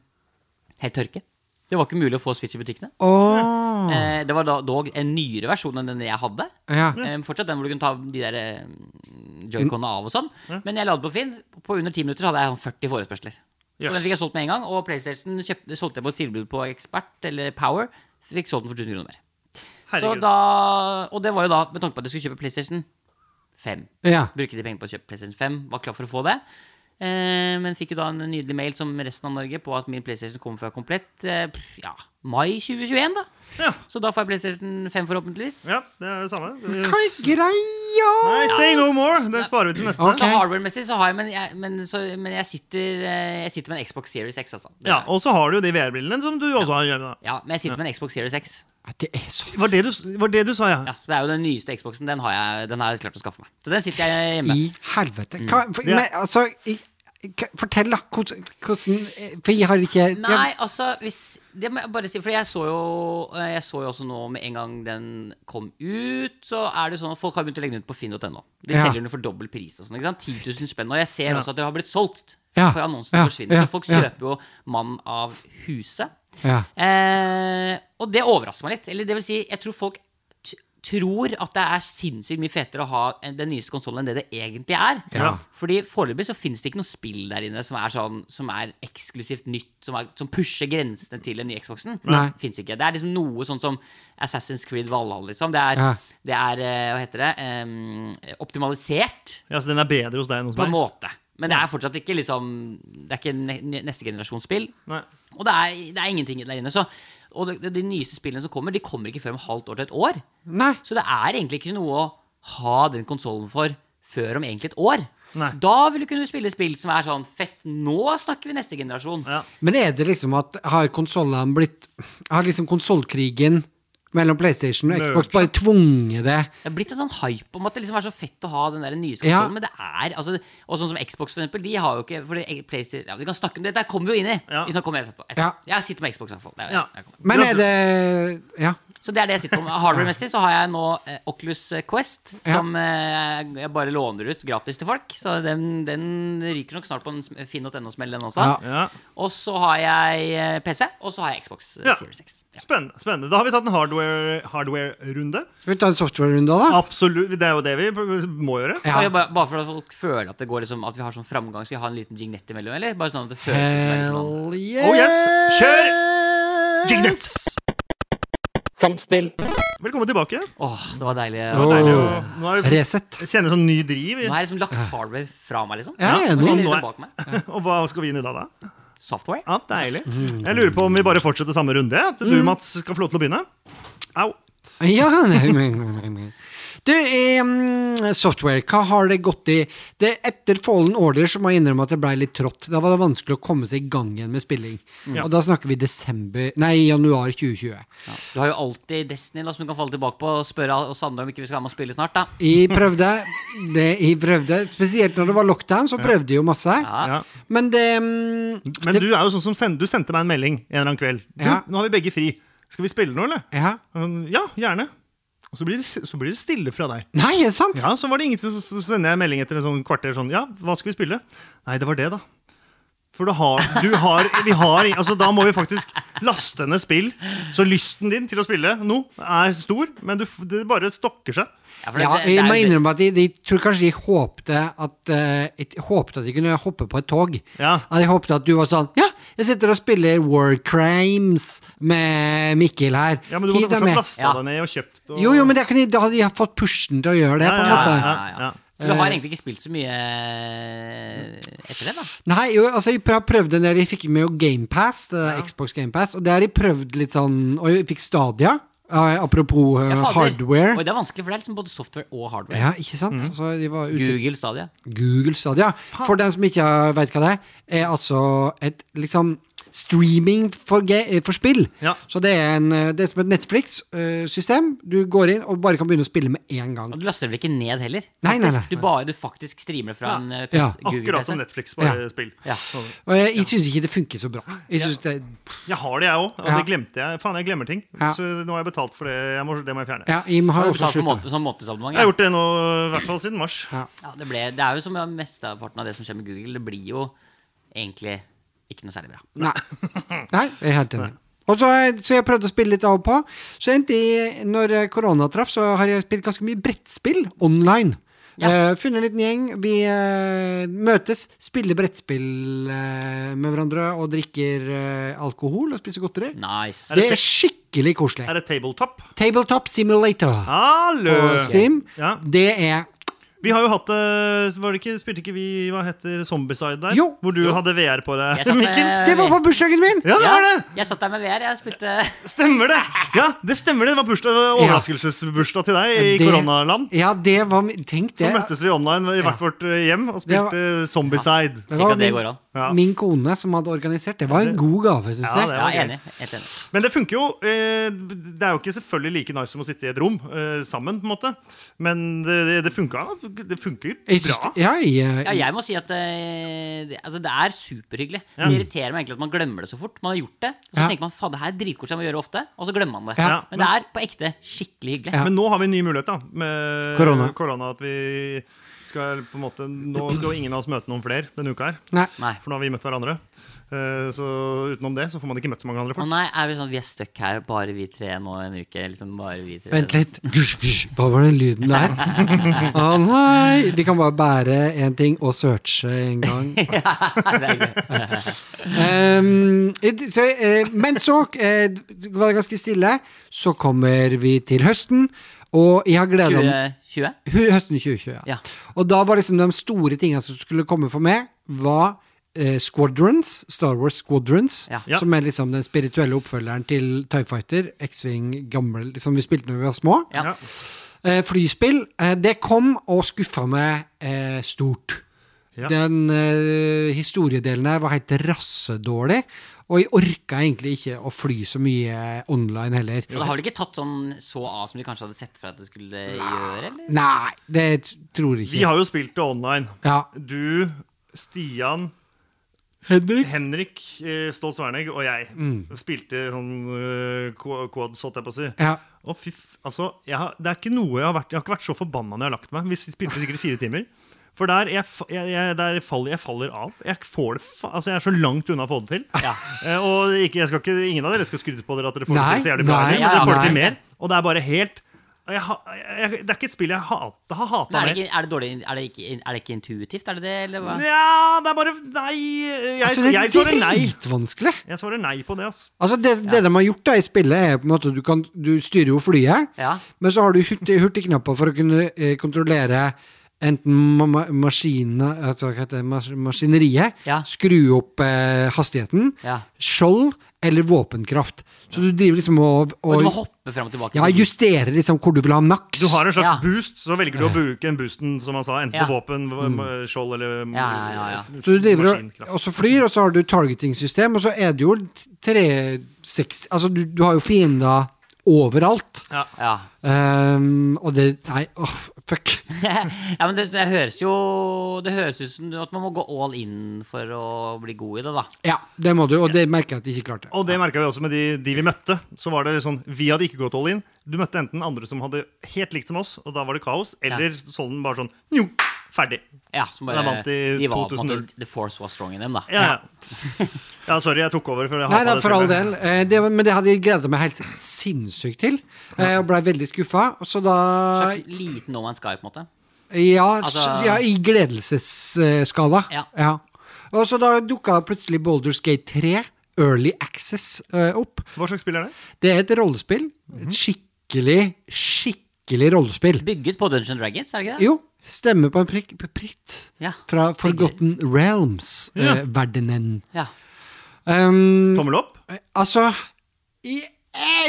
helt tørke. Det var ikke mulig å få Switch i butikkene. Åh, Ah. Eh, det var da, dog en nyere versjon enn den jeg hadde. ja. Eh, fortsatt den hvor du kunne ta de der eh, joyconene av og sånn. Men jeg la det på Finn. På under 10 minutter hadde jeg sånn 40 forespørsler. Så Yes. den fikk jeg solgt med en gang. Og PlayStation kjøpte, solgte jeg på et tilbud på Expert eller Power. Fikk solgt den for 1000 kroner mer. Så Herregud. da, og det var jo da med tanke på at jeg skulle kjøpe PlayStation 5. ja. Bruke de pengene på å kjøpe PlayStation 5. Var klar for å få det. Eh, men fikk jo da en nydelig mail som resten av Norge på at min PlayStation kommer før komplett. Eh, pff, ja, mai 2021, da. Ja. Så da får jeg PlayStation 5, forhåpentligvis. Ja, det er det samme. Hva er greia? Nei, say no more! Det sparer vi til neste. Ok. Så hardware-messig så har jeg, men jeg, men, så, men jeg, sitter, eh, jeg sitter med en Xbox Series X, altså. Det- Ja, Og så har du jo de VR-brillene som du også har. Jørgen, da. ja, men jeg sitter med en Xbox Series X. Det er så Var det du, var det du sa, ja? Ja, så det er jo den nyeste Xboxen. Den har jeg, den har jeg klart å skaffe meg. Så den sitter jeg hjemme. i helvete. Hva, for, Det er- men, altså, i, hva- fortell, da. Hvordan, hvordan For jeg har ikke Nei, altså hvis, Det må jeg bare si, for jeg så jo eh, Jeg så jo også nå med en gang den kom ut, så er det sånn at folk har begynt å legge den ut på finn.no. De Ja. selger den for dobbel pris og sånn. ikke sant? 10 000 spenn. Og jeg ser også at det har blitt solgt. Ja. For annonsene Ja. forsvinner. Ja. Så folk Ja. kjøper jo Mann av huset. Ja. Eh, og det overrasker meg litt. Eller det vil si, jeg tror folk t tror at det er sinnssykt mye fetere å ha en- den nyeste konsollen enn det det egentlig er. Ja. Fordi foreløpig så finnes det ikke noe spill der inne som er, sånn, som er eksklusivt nytt, som, er, som pusher grensene til den nye Xboxen. Nei. Finnes ikke. Det er liksom noe sånn som Assassin's Creed Valhall, liksom. Det er, Ja. det er eh, hva heter det, em, optimalisert Ja, Så den er bedre hos deg enn hos på en meg? måte. Men det er fortsatt ikke liksom Det er ikke ne neste generasjons spill. Nei. Og det er, det er ingenting der inne. Så, og de, de nyeste spillene som kommer, De kommer ikke før om halvt år til et år. Nei. Så det er egentlig ikke noe å ha den konsollen for før om egentlig et år. Nei. Da vil du kunne spille spill som er sånn Fett, nå snakker vi neste generasjon. Ja. Men er det liksom at har konsollene blitt Har liksom konsollkrigen mellom PlayStation og Xbox Merge. bare tvunget det? Det er blitt en sånn hype om at det liksom er så fett å ha den der nyeste Ja. konsollen, men det er altså, Og sånn som Xbox, for eksempel, de har jo ikke fordi PlayStation, ja, Vi kan snakke om det, dette kommer vi jo inn i. Ja. Vi kan komme etterpå. etterpå. Ja. Jeg sitter med Xbox, i hvert fall. Det er- Ja. jeg kommer. Men Ja, er du- det Ja. Så det er det jeg sitter på med. Hardware-messig så har jeg nå eh, Oculus Quest, Ja. som eh, jeg bare låner ut gratis til folk. Så den, den ryker nok snart på en sm- finn.no-smell, den også. Ja. Ja. Og så har jeg eh, PC, og så har jeg Xbox eh, Ja. Series X. Ja. Spennende. spennende. Da har vi tatt en hardware- hardware-runde. Skal vi ta en software-runde, da? Absolutt. Det er jo det vi må gjøre. Ja. Og jeg Bare, bare for at folk føler at det går liksom At vi har sånn framgang, skal vi ha en liten jignett imellom? Eller? Bare sånn at det føles som det er litt sånn. Hell yes! Oh, yes. Kjør! Jignets. Samspill. Velkommen tilbake. Åh, det var deilig. Det Åh. var deilig å- Nå er det, Resett. jeg kjenner sånn ny driv. Nå i- har jeg liksom lagt hardware fra meg, liksom. Ja, jeg er Nå ligger enig. det nå er- liksom bak meg. Og hva skal vi inn i da, da? Software. Ja, deilig. Mm. Jeg lurer på om vi bare fortsetter samme runde. At Mm. du, Mats, skal få lov til å begynne. Au. Ja nei, men- men- men. Du, eh, mm, software, hva har det gått i? Det er Etter Fallen Order så må jeg innrømme at det ble litt trått. Da var det vanskelig å komme seg i gang igjen med spilling. Ja. Og da snakker vi desember Nei, januar 2020. Du har jo alltid Destiny da, som du kan falle tilbake på og spørre oss andre om ikke vi skal være med og spille snart. da Jeg prøvde, det, jeg prøvde. Spesielt når det var lockdown, så prøvde jeg jo masse. Ja. Ja. Men det mm, Men du er jo sånn som send, du sendte meg en melding en eller annen kveld. Du, Ja. Nå har vi begge fri. Skal vi spille nå, eller? Ja. Um, Ja, gjerne. Og så blir, det, så blir det stille fra deg. Nei, er det sant? Ja, Så var det ingenting, så- så sender jeg en melding etter en sånn kvarter sånn Ja, hva skal vi spille? Nei, det var det, da. For du har, du har, vi har altså, Da må vi faktisk laste ned spill. Så lysten din til å spille nå er stor, men du, f- det bare stokker seg. Ja, for det- Ja, det- det jeg er jo må det- innrømme at de, de tror kanskje de håpte at eh, Jeg håpte at de kunne hoppe på et tog. Ja. At jeg håpte at du var sånn Ja, jeg sitter og spiller War Crimes med Mikkel her. Ja, Men du måtte Hiv deg fortsatt med. lasta Ja. deg ned og kjøpt. Og, Jo, jo, men det kan de, da hadde de fått pushen til å gjøre det, Eh. Ja, på en ja, måte. Ja, ja, Ja. ja. For Du har egentlig ikke spilt så mye eh, etter det, da? Nei, jo, altså, jeg har prøvd den der jeg fikk med jo GamePass, Xbox GamePass, og det har jeg prøvd litt sånn Og jeg fikk Stadia. eh, apropos eh, Ja, fader. Oi, hardware. det er vanskelig, for det er liksom både software og hardware. Ja, ikke sant? Mhm. Så de var utsatt Google Stadia. Google Stadia. For den som ikke vet hva det er, er altså et liksom streaming for, ge- for spill. Ja. Så det er, en, eh, det er som et Netflix-system. Du går inn og bare kan begynne å spille med en gang. Og du laster vel ikke ned heller? Nei, nei, nei. Faktisk, Du bare du faktisk streamer fra en eh, Ja, PC, Akkurat som Google-PC. Netflix, bare Ja. spill. Ja. Sånn. Og jeg, jeg syns ikke det funker så bra. Jeg synes det, Jeg har det, jeg òg. Og Ja. det glemte jeg. Faen, jeg glemmer ting. Ja. Så nå har jeg betalt for det. Jeg må, det må jeg fjerne. ja, jeg har Har du også betalt for sluttet. måned, sånn månedsabonnement? Jeg har Ja. gjort det nå, i hvert fall siden mars. Ja. Ja, det, ble, det er jo som med mesteparten av det som skjer med Google. Det blir jo egentlig ikke noe særlig bra. Nei. Nei, jeg er helt enig. Og så, har jeg- så jeg prøvde å spille litt av og på. Så endte jeg, når eh, korona traff, så har jeg spilt ganske mye brettspill online. Eh, funnet en liten gjeng. Vi eh, møtes, spiller brettspill eh, med hverandre og drikker eh, alkohol og spiser godteri. Nice. Det er skikkelig koselig. Er det tabletop? Tabletop Simulator Hallo! på Steam. Ja. Det er Vi har jo hatt det var det ikke, Spilte ikke vi hva heter Zombieside der? Jo. Hvor du hadde VR på deg, Jeg satt med- Mikkel? Det var på bursdagen min! Ja, det var det! Jeg satt der med VR. Jeg spilte Stemmer det! Ja, det stemmer det. Det var bursdag, overraskelsesbursdag til deg i Det- koronaland. Ja, det var min- Tenk Så det. møttes vi online i hvert vårt eh, hjem og Det var- spilte Zombieside. Tenk Det var at det min, går an. Ja. min kone som hadde organisert. Det var en god gave, syns Ja, jeg. det Ja, var gøy. enig. Helt enig. Men det funker jo. eh, Det er jo ikke selvfølgelig like nice som å sitte i et rom eh, sammen, på en måte. Men det, det funka. Det funker Jeg syns- bra. ja, jeg, Ja, jeg må si at eh, det, altså, det er superhyggelig. Ja. Det irriterer meg egentlig at man glemmer det så fort. Man har gjort det, og så Ja. tenker man faen, det her er dritkoselig, jeg må gjøre det ofte. Og så glemmer man det. Ja. Men det er på ekte skikkelig hyggelig. Ja. Men nå har vi en ny mulighet da med Korona. At vi skal på en måte Nå skal jo ingen av oss møte noen flere denne uka her. Nei. Nei. For nå har vi møtt hverandre. Eh, Så utenom det så får man ikke møtt så mange andre Å folk. nei, er vi sånn at vi er stuck her, bare vi tre nå en uke? Liksom bare vi tre Vent litt. Gusj, gusj. Hva var den lyden der? Å nei! Vi kan bare bære én ting og searche en gang. det er gøy. Ehm, it- så, eh, men så eh, det var det ganske stille. Så kommer vi til høsten, og jeg har gleda meg 2020? Hø- Høsten 2020, ja. Ja. Og da var liksom de store tingene som skulle komme for meg, var eh, Squadrons, Star Wars Squadrons, Ja. Ja. som er liksom den spirituelle oppfølgeren til Tie Fighter, X-Wing, gammel, som vi spilte når vi var små. Ja. Ja. Eh, flyspill, eh, det kom og skuffa meg eh, stort. Ja. Den eh, historiedelen her var helt rassedårlig, og jeg orka egentlig ikke å fly så mye online heller. Og det har vel ikke tatt sånn så av som de kanskje hadde sett for at det skulle gjøre? eller? Nei, det t- tror jeg Vi ikke. har jo spilt det online. Ja. Du, Stian, Henrik? Henrik eh, Stolt Svernegg og jeg Mm. spilte sånn eh, qu- quads, holdt jeg på å si. Ja. Og fy f- altså, jeg har, det er ikke noe jeg har vært Jeg har ikke vært så forbanna når jeg har lagt meg. Vi spilte sikkert fire timer. For der, jeg, fa- jeg, jeg, der faller jeg faller av. Jeg, får det fa altså, jeg er så langt unna å få det til. Eh, og ikke, jeg skal ikke, ingen av dere skal skryte på dere at dere får Nei, det til så jævlig bra. nei, heller, men dere får det til nei. mer. Og det er bare helt jeg, ha- jeg, Det er ikke et spill jeg hat, har hata Men er, mer. det ikke, er, det dårlig, er, det ikke, er det ikke intuitivt? Er det det, eller hva? Nja, det er bare Nei. Jeg, Altså, det jeg svarer er nei. dritvanskelig. Jeg svarer nei på det, altså. Altså det, det de har gjort da i spillet, er på en måte at du, kan, du styrer jo flyet, Ja. men så har du hurtig, hurtigknapper for å kunne eh, kontrollere enten ma ma maskina, altså, hva heter det, mas maskineriet, Ja. skru opp eh, hastigheten, Ja. skjold eller våpenkraft. Så du driver liksom og, Og du må og hoppe frem og tilbake? ja, justerer liksom hvor du vil ha maks. Du har en slags Ja. boost, så velger du å bruke en boosten, som han sa, enten Ja. på våpen, v- m- skjold eller m- Ja, ja, ja, ja. f- Mm. Så du driver og, maskinkraft. og så flyr, og så har du targetingsystem, og så er det jo tre, seks Altså, du, du har jo fiender overalt. Ja. Ja. Ehm, og det Nei, åh, fuck. ja, men det, det høres jo Det høres ut som at man må gå all in for å bli god i det, da. Ja, det må du, og det merker jeg at de ikke klarte. Og det merka vi også med de, de vi møtte. Så var det sånn, Vi hadde ikke gått all in. Du møtte enten andre som hadde helt likt som oss, og da var det kaos, eller sånn bare sånn Jo, ferdig. Ja, som bare, Jeg vant i de var på en 2000. måte The force was strong in dem, da. Ja, ja. ja, sorry, jeg tok over. For jeg Nei, hatet da, det for all spillet. del. Eh, det, var- men det hadde jeg gleda meg helt sinnssykt til. Eh, og blei veldig skuffa. Så da Slags liten No Man's Sky, på en måte. Ja, Altså- s- ja i gledelsesskala. Ja. Og så da dukka plutselig Boulders Gate 3, Early Access, eh, opp. Hva slags spill er det? Det er et rollespill. Mhm. Et skikkelig, skikkelig rollespill. Bygget på Dungeon Dragons, er det ikke det? Jo, stemmer på en prikk, pritt Ja. fra Forgotten eh, Ja. Realms-verdenen. Ja. Mm. Tommel opp? Ehm, Altså, jeg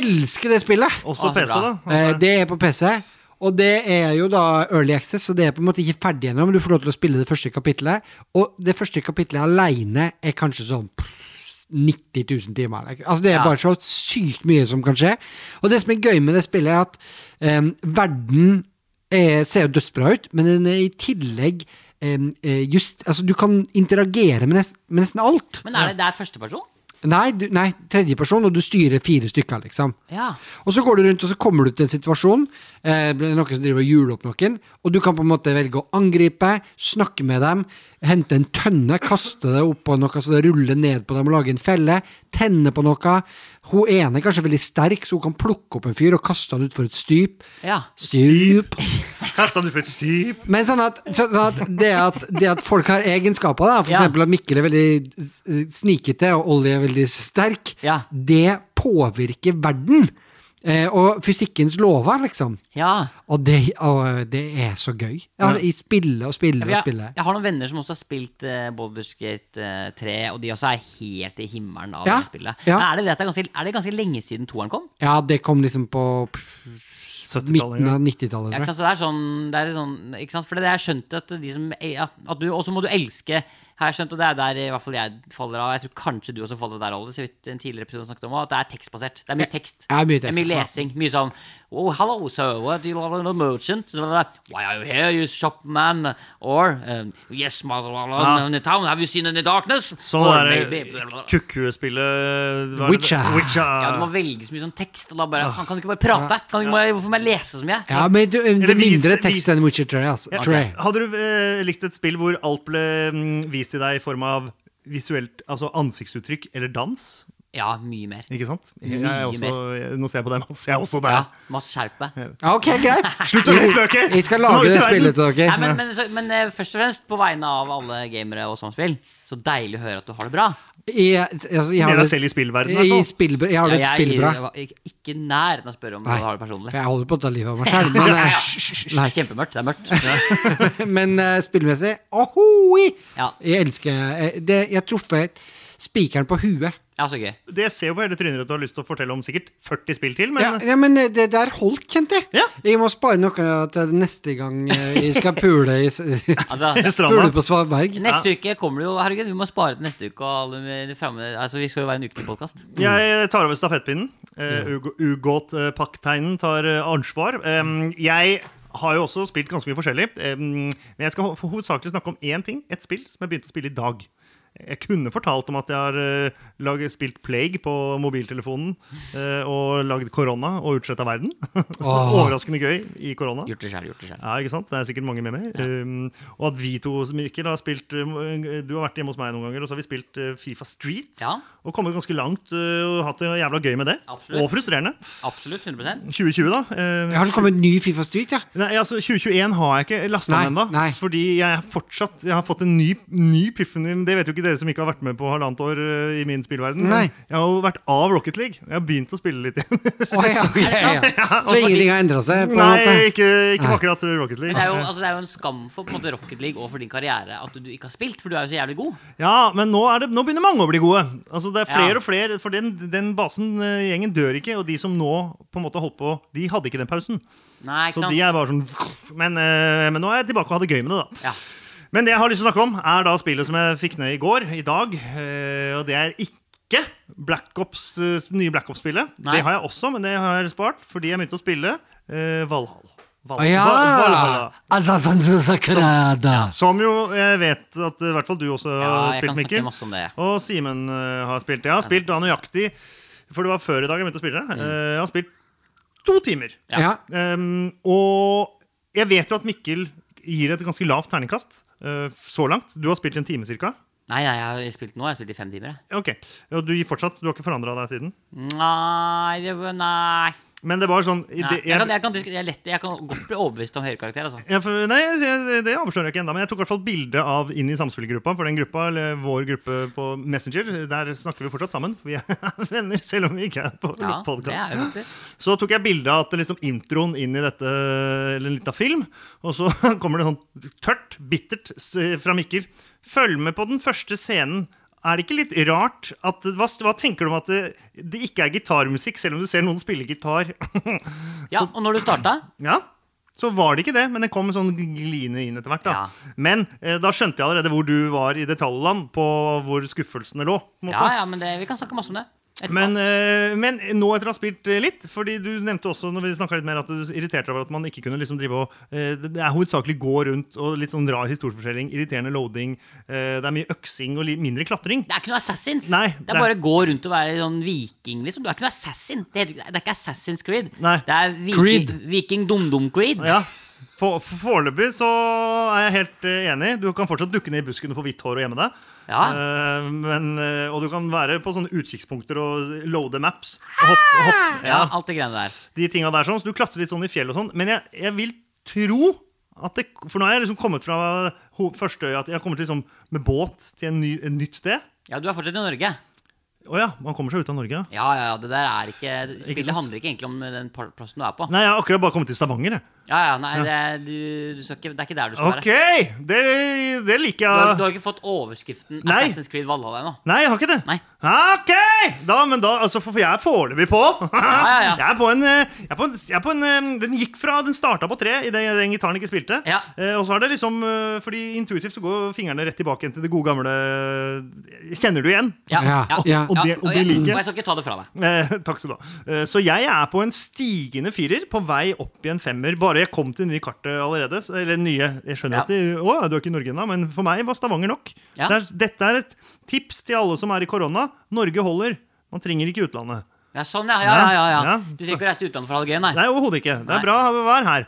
elsker det spillet! Også Å, så PC, da? bra. Eh, det er på PC, og det er jo da early access, så det er på en måte ikke ferdig ennå, men du får lov til å spille det første kapitlet. Og det første kapitlet aleine er kanskje sånn pff, 90 000 timer. Altså Det er Ja. bare så sykt mye som kan skje. Og det som er gøy med det spillet, er at em, verden er, ser jo dødsbra ut, men den er i tillegg em, eh, just, altså Du kan interagere med, nes- med nesten alt. Men er det, det er førsteperson? Nei, du, nei, tredjeperson, og du styrer fire stykker, liksom. Ja. Og så går du rundt, og så kommer du til en situasjon, eh, blir det noen som driver og hjuler opp noen, og du kan på en måte velge å angripe, snakke med dem, hente en tønne, kaste det opp på noe så det ruller ned på dem og lage en felle, tenne på noe. Hun ene er kanskje veldig sterk, så hun kan plukke opp en fyr og kaste han utfor et styp. Ja. Styp. Kasta du for et styp? Men sånn at, sånn at, det at det at folk har egenskaper, da, for Ja. eksempel at Mikkel er veldig eh, snikete og Ollie er veldig sterk, Ja. det påvirker verden. Eh, og fysikkens lover, liksom. Ja. Og det, og det er så gøy. Altså, I spille og spille Ja, for og Jeg, spille. jeg har noen venner som også har spilt uh, Baldur's Gate eh, 3, og de også er helt i himmelen av Ja, det spillet. ja. Men Er, det det at det er, ganske, er det ganske lenge siden toeren kom? Ja, det kom liksom på pff, 70-tallet en midten gang. av 90-tallet. Ja, ikke sant? tror jeg. Så det er sånn, det er sånn ikke sant? For det har jeg skjønt at de som ja, at du, Og så må du elske, har jeg skjønt, og det er der i hvert fall jeg faller av. Jeg tror kanskje du også faller der, Olle, så vidt en tidligere episode snakket om, at det er tekstbasert. Det er mye tekst. Ja, mye tekst, Det er mye ja. lesing. Mye sånn Oh, hello, sir. What do you want a merchant? Så det er, Why are you here, you shopman? Or um, Yes, mother Ja. in the town. Have you seen any darkness? Sånn Or det maybe- derre kukkhuespillet hva er det? Witcher. Ja, du må Witcher. velge så mye sånn tekst, og da bare Faen, kan du ikke bare prate? Kan du, ikke bare- Hvorfor må jeg lese så mye? Ah. Ja, men du, det Eller er vis- mindre vis- tekst enn Witcher 3. Altså. Ja, Tror jeg. Hadde du eh, likt et spill hvor alt ble mm, vist til deg i form av visuelt, altså ansiktsuttrykk eller dans? Ja, mye mer. Ikke sant? Jeg Mye er også, nå ser jeg på deg, Mats. Jeg er også der. Ja, Mads, skjerp deg. Ja, ok, greit. Slutt å lese bøker! Jeg skal Nå ut i lage det verden! spillet til Nei, men, dere. men, så, men eh, først og fremst, på vegne av alle gamere og samspill, så deilig å høre at du har det bra. Jeg, altså, jeg har Med deg det- selv i spillverdenen, altså. i i hvert fall. spillbra. Jeg har det Ja, jeg, spillbra. jeg var ikke- ikke nær å spørre om du Nei, har det for personlig. jeg holder på å ta livet av meg selv. Men, Ja, ja. eh, Det er kjempemørkt. Det er mørkt. nei, men eh, spillmessig ohoi! Ja. Jeg elsker eh, det, Jeg har truffet spikeren på huet. Ja, så gøy. Det ser jo på hele trynet ditt at du har lyst til å fortelle om sikkert 40 spill til, men Ja, ja, men eh, det der holdt, kjente jeg. Ja. Jeg må spare noe til neste gang eh, jeg skal pule i s- Altså, Stranda. Pule på Svalberg. neste uke kommer det jo Herregud, vi må spare til neste uke. Og alle med- fremme, altså, vi skal jo være en ukentlig podkast. Jeg tar over stafettpinnen. Eh, Ug- Ubåtpakkteinen tar eh, ansvar. Em, jeg har jo også spilt ganske mye forskjellig. Em, men jeg skal ho- hovedsakelig snakke om én ting. Et spill som jeg begynte å spille i dag. Jeg kunne fortalt om at jeg har eh, laget, spilt Plague på mobiltelefonen. eh, og lagd korona og utsletta verden. Overraskende gøy i korona. Gjort det sjæl, gjort det sjæl. Ja, ikke sant? Det er sikkert mange med meg. Um, og at vi to, Mikkel, har spilt um, Du har vært hjemme hos meg noen ganger, og så har vi spilt uh, Fifa Street. Ja. Og kommet ganske langt uh, og hatt det jævla gøy med det. Absolutt. Og frustrerende. Absolutt. 100 2020, da. Uh, Har det kommet ny Fifa Street, ja? Nei, altså 2021 har jeg ikke lasta Nei, ned ennå. nei. Fordi jeg er fortsatt Jeg har fått en ny, ny piffen i- Det vet jo ikke dere som ikke har vært med på halvannet år uh, i min spillverden. men Nei. Jeg har jo vært av Rocket League. Jeg har begynt å spille litt igjen. Å, ja, ok, ja. Så ingenting har endra seg? På en måte. Nei, ikke, ikke Nei. akkurat Rocket League. det er, jo, altså, det er jo en skam for på en måte, Rocket League og for din karriere at du ikke har spilt, for du er jo så jævlig god. Ja, men nå, er det, nå begynner mange å bli gode. Altså Det er flere Ja. og flere, for den, den basen, eh, gjengen, dør ikke. Og de som nå på en måte holdt på, de hadde ikke den pausen. Nei, ikke Så sant? de er bare sånn men, eh, men nå er jeg tilbake og har det gøy med det, da. Ja. Men det jeg har lyst til å snakke om, er da spillet som jeg fikk ned i går, i dag. eh, Og det er ikke Black Ops, eh, nye Black Ops-spillet. Nei. Det har jeg også, men det har jeg spart fordi jeg begynte å spille eh, Valhall. Val- Å ja! Val- Valhalla. Altså, sånn så sakrada. Som jo jeg vet at eh, i hvert fall du også ja, har jeg spilt, kan snakke Mikkel. masse om det. Og Simen eh, har spilt. Jeg har spilt da nøyaktig For det var før i dag jeg begynte å spille. Mm. det. Eh, jeg har spilt to timer. Ja. Ja. Ehm, og jeg vet jo at Mikkel gir et ganske lavt terningkast eh, så langt. Du har spilt en time ca. Nei, nei, jeg har spilt nå. Jeg har spilt i fem timer. Jeg. Ok, Og du gir fortsatt, du har ikke forandra deg siden? Nei, det var, nei. Men det var sånn nei. det, Jeg, kan, jeg, kan, disk- jeg, er lett, jeg kan godt bli overbevist om høyere karakter, altså. Ja, for, nei, jeg- det avslører jeg ikke ennå, men jeg tok i hvert fall bilde av inn i samspillgruppa. For den gruppa, eller vår gruppe på Messenger, der snakker vi fortsatt sammen. Vi er venner, selv om vi ikke er på Ja, det podcast. er jo faktisk. Så tok jeg bilde av at liksom introen inn i dette, eller en liten film, og så kommer det sånn tørt, bittert s- fra Mikkel. Følg med på den første scenen. Er det ikke litt rart at Hva, hva tenker du om at det, det ikke er gitarmusikk, selv om du ser noen spille gitar? Ja, og når du starta Ja, så var det ikke det, men det kom en sånn gline inn etter hvert. da. Ja. Men eh, da skjønte jeg allerede hvor du var i detaljland, på hvor skuffelsene lå. på en måte. Ja, ja, men det, vi kan snakke masse om det. etterpå. Men, eh, men nå etter å ha spilt eh, litt, fordi du nevnte også når vi snakket litt mer at du irriterte deg over at man ikke kunne liksom drive og eh, Det det er hovedsakelig gå rundt og litt sånn rar historiefortelling, irriterende loading, eh, det er mye øksing og li mindre klatring. det er ikke noe Assassins. Nei, det det er er- bare å gå rundt og være sånn viking, liksom. Du er ikke noe Assassin. Det, heter, det er ikke Assassin's Creed. Nei. Det er Creed. Viking, viking Dum-Dum-Creed. Ja. For- for- Foreløpig så er jeg helt eh, enig. Du kan fortsatt dukke ned i busken og få hvitt hår og gjemme deg. Eh, men, eh, og du kan være på sånne utkikkspunkter og loade maps. Hopp, hopp, ja, alt det greiene der. de tinga der sånn, så du klatrer litt sånn i fjell og sånn. Men jeg, jeg vil tro at det, For nå har jeg liksom kommet fra ho- første øya at jeg har kommet liksom med båt til en ny, et nytt sted. Ja, du er fortsatt i Norge. Å ja, man kommer seg ut av Norge, ja. Ja, ja, ja, det der er ikke Ikke Spillet sant? handler ikke egentlig om den par- plassen du er på. Nei, jeg har akkurat bare kommet til Stavanger, jeg. Ja, ja, nei, det, er- du, du skal ikke, det Sånn er ikke der du skal Ok! være. Det, det liker Du har, du jeg. har ikke fått overskriften Ah. Nei. Assassin's Creed Valhalla ennå. Nei, jeg har ikke det. Nei. Ok! Da, men da, altså, for for jeg er foreløpig på. ja, ja. Jeg er på en, eh, jeg er på en, jeg er på en eh, Den gikk fra Den starta på tre i det den gitaren ikke spilte. Ja. Eh, Og så er det liksom eh, Fordi intuitivt så går fingrene rett tilbake igjen til det gode gamle Kjenner du igjen? Ja, ja. Og det- og det jeg- liker jeg. jeg skal ikke ta det fra deg. Eh, takk skal du ha. Eh, så jeg er på en stigende firer, på vei opp i en femmer. Bare jeg kom til nye kartet allerede. så- Eller nye. Jeg skjønner Ja. at de, å, ja, du er ikke i Norge ennå, men for meg var Stavanger nok. Ja. Det er, dette er et tips til alle som er i korona. Norge holder. Man trenger ikke utlandet. Ja, sånn, ja. ja, ja, ja, ja. Ja, Du trenger ikke å reise til utlandet for å ha det gøy, nei. Nei, overhodet ikke. Det Nei. er bra å være her.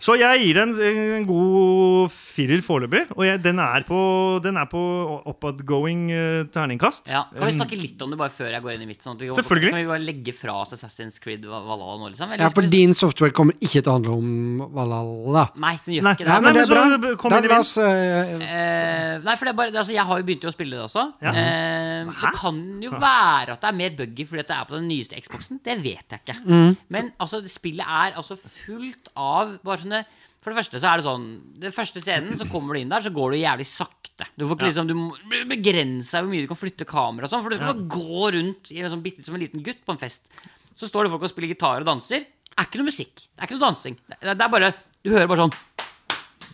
Så jeg gir den en god firer foreløpig. Og jeg, den, er på, den er på oppadgoing eh, terningkast. Mm. Ja. Kan vi snakke litt om det bare før jeg går inn i mitt? Sånn at vi, Um, Selvfølgelig. Kan vi bare legge fra oss Assassin's Creed Val- Valhalla nå, liksom? Eller Ja, for skal vi- din software kommer ikke til å handle om Valhalla. Nei, den gjør Nei. ikke det. Nei, men men det er så bra. kom Da inn i la oss eh, Eh, nei, for det er bare, det- altså, Jeg har jo begynt å spille det også. Ja. Eh, det kan jo være at det er mer buggy fordi at det er på den nyeste Xboxen. Det vet jeg ikke. Men altså, det spillet er altså fullt av bare sånne For det første så er det sånn Den første scenen, så kommer du inn der, så går du jævlig sakte. Du får ikke liksom Du må begrense deg hvor mye du kan flytte kamera og sånn, for du skal bare gå rundt i en sånn, bitte- som en liten gutt på en fest. Så står det folk og spiller gitar og danser. Det er ikke noe musikk. Det er ikke noe dansing. Det er, det er bare Du hører bare sånn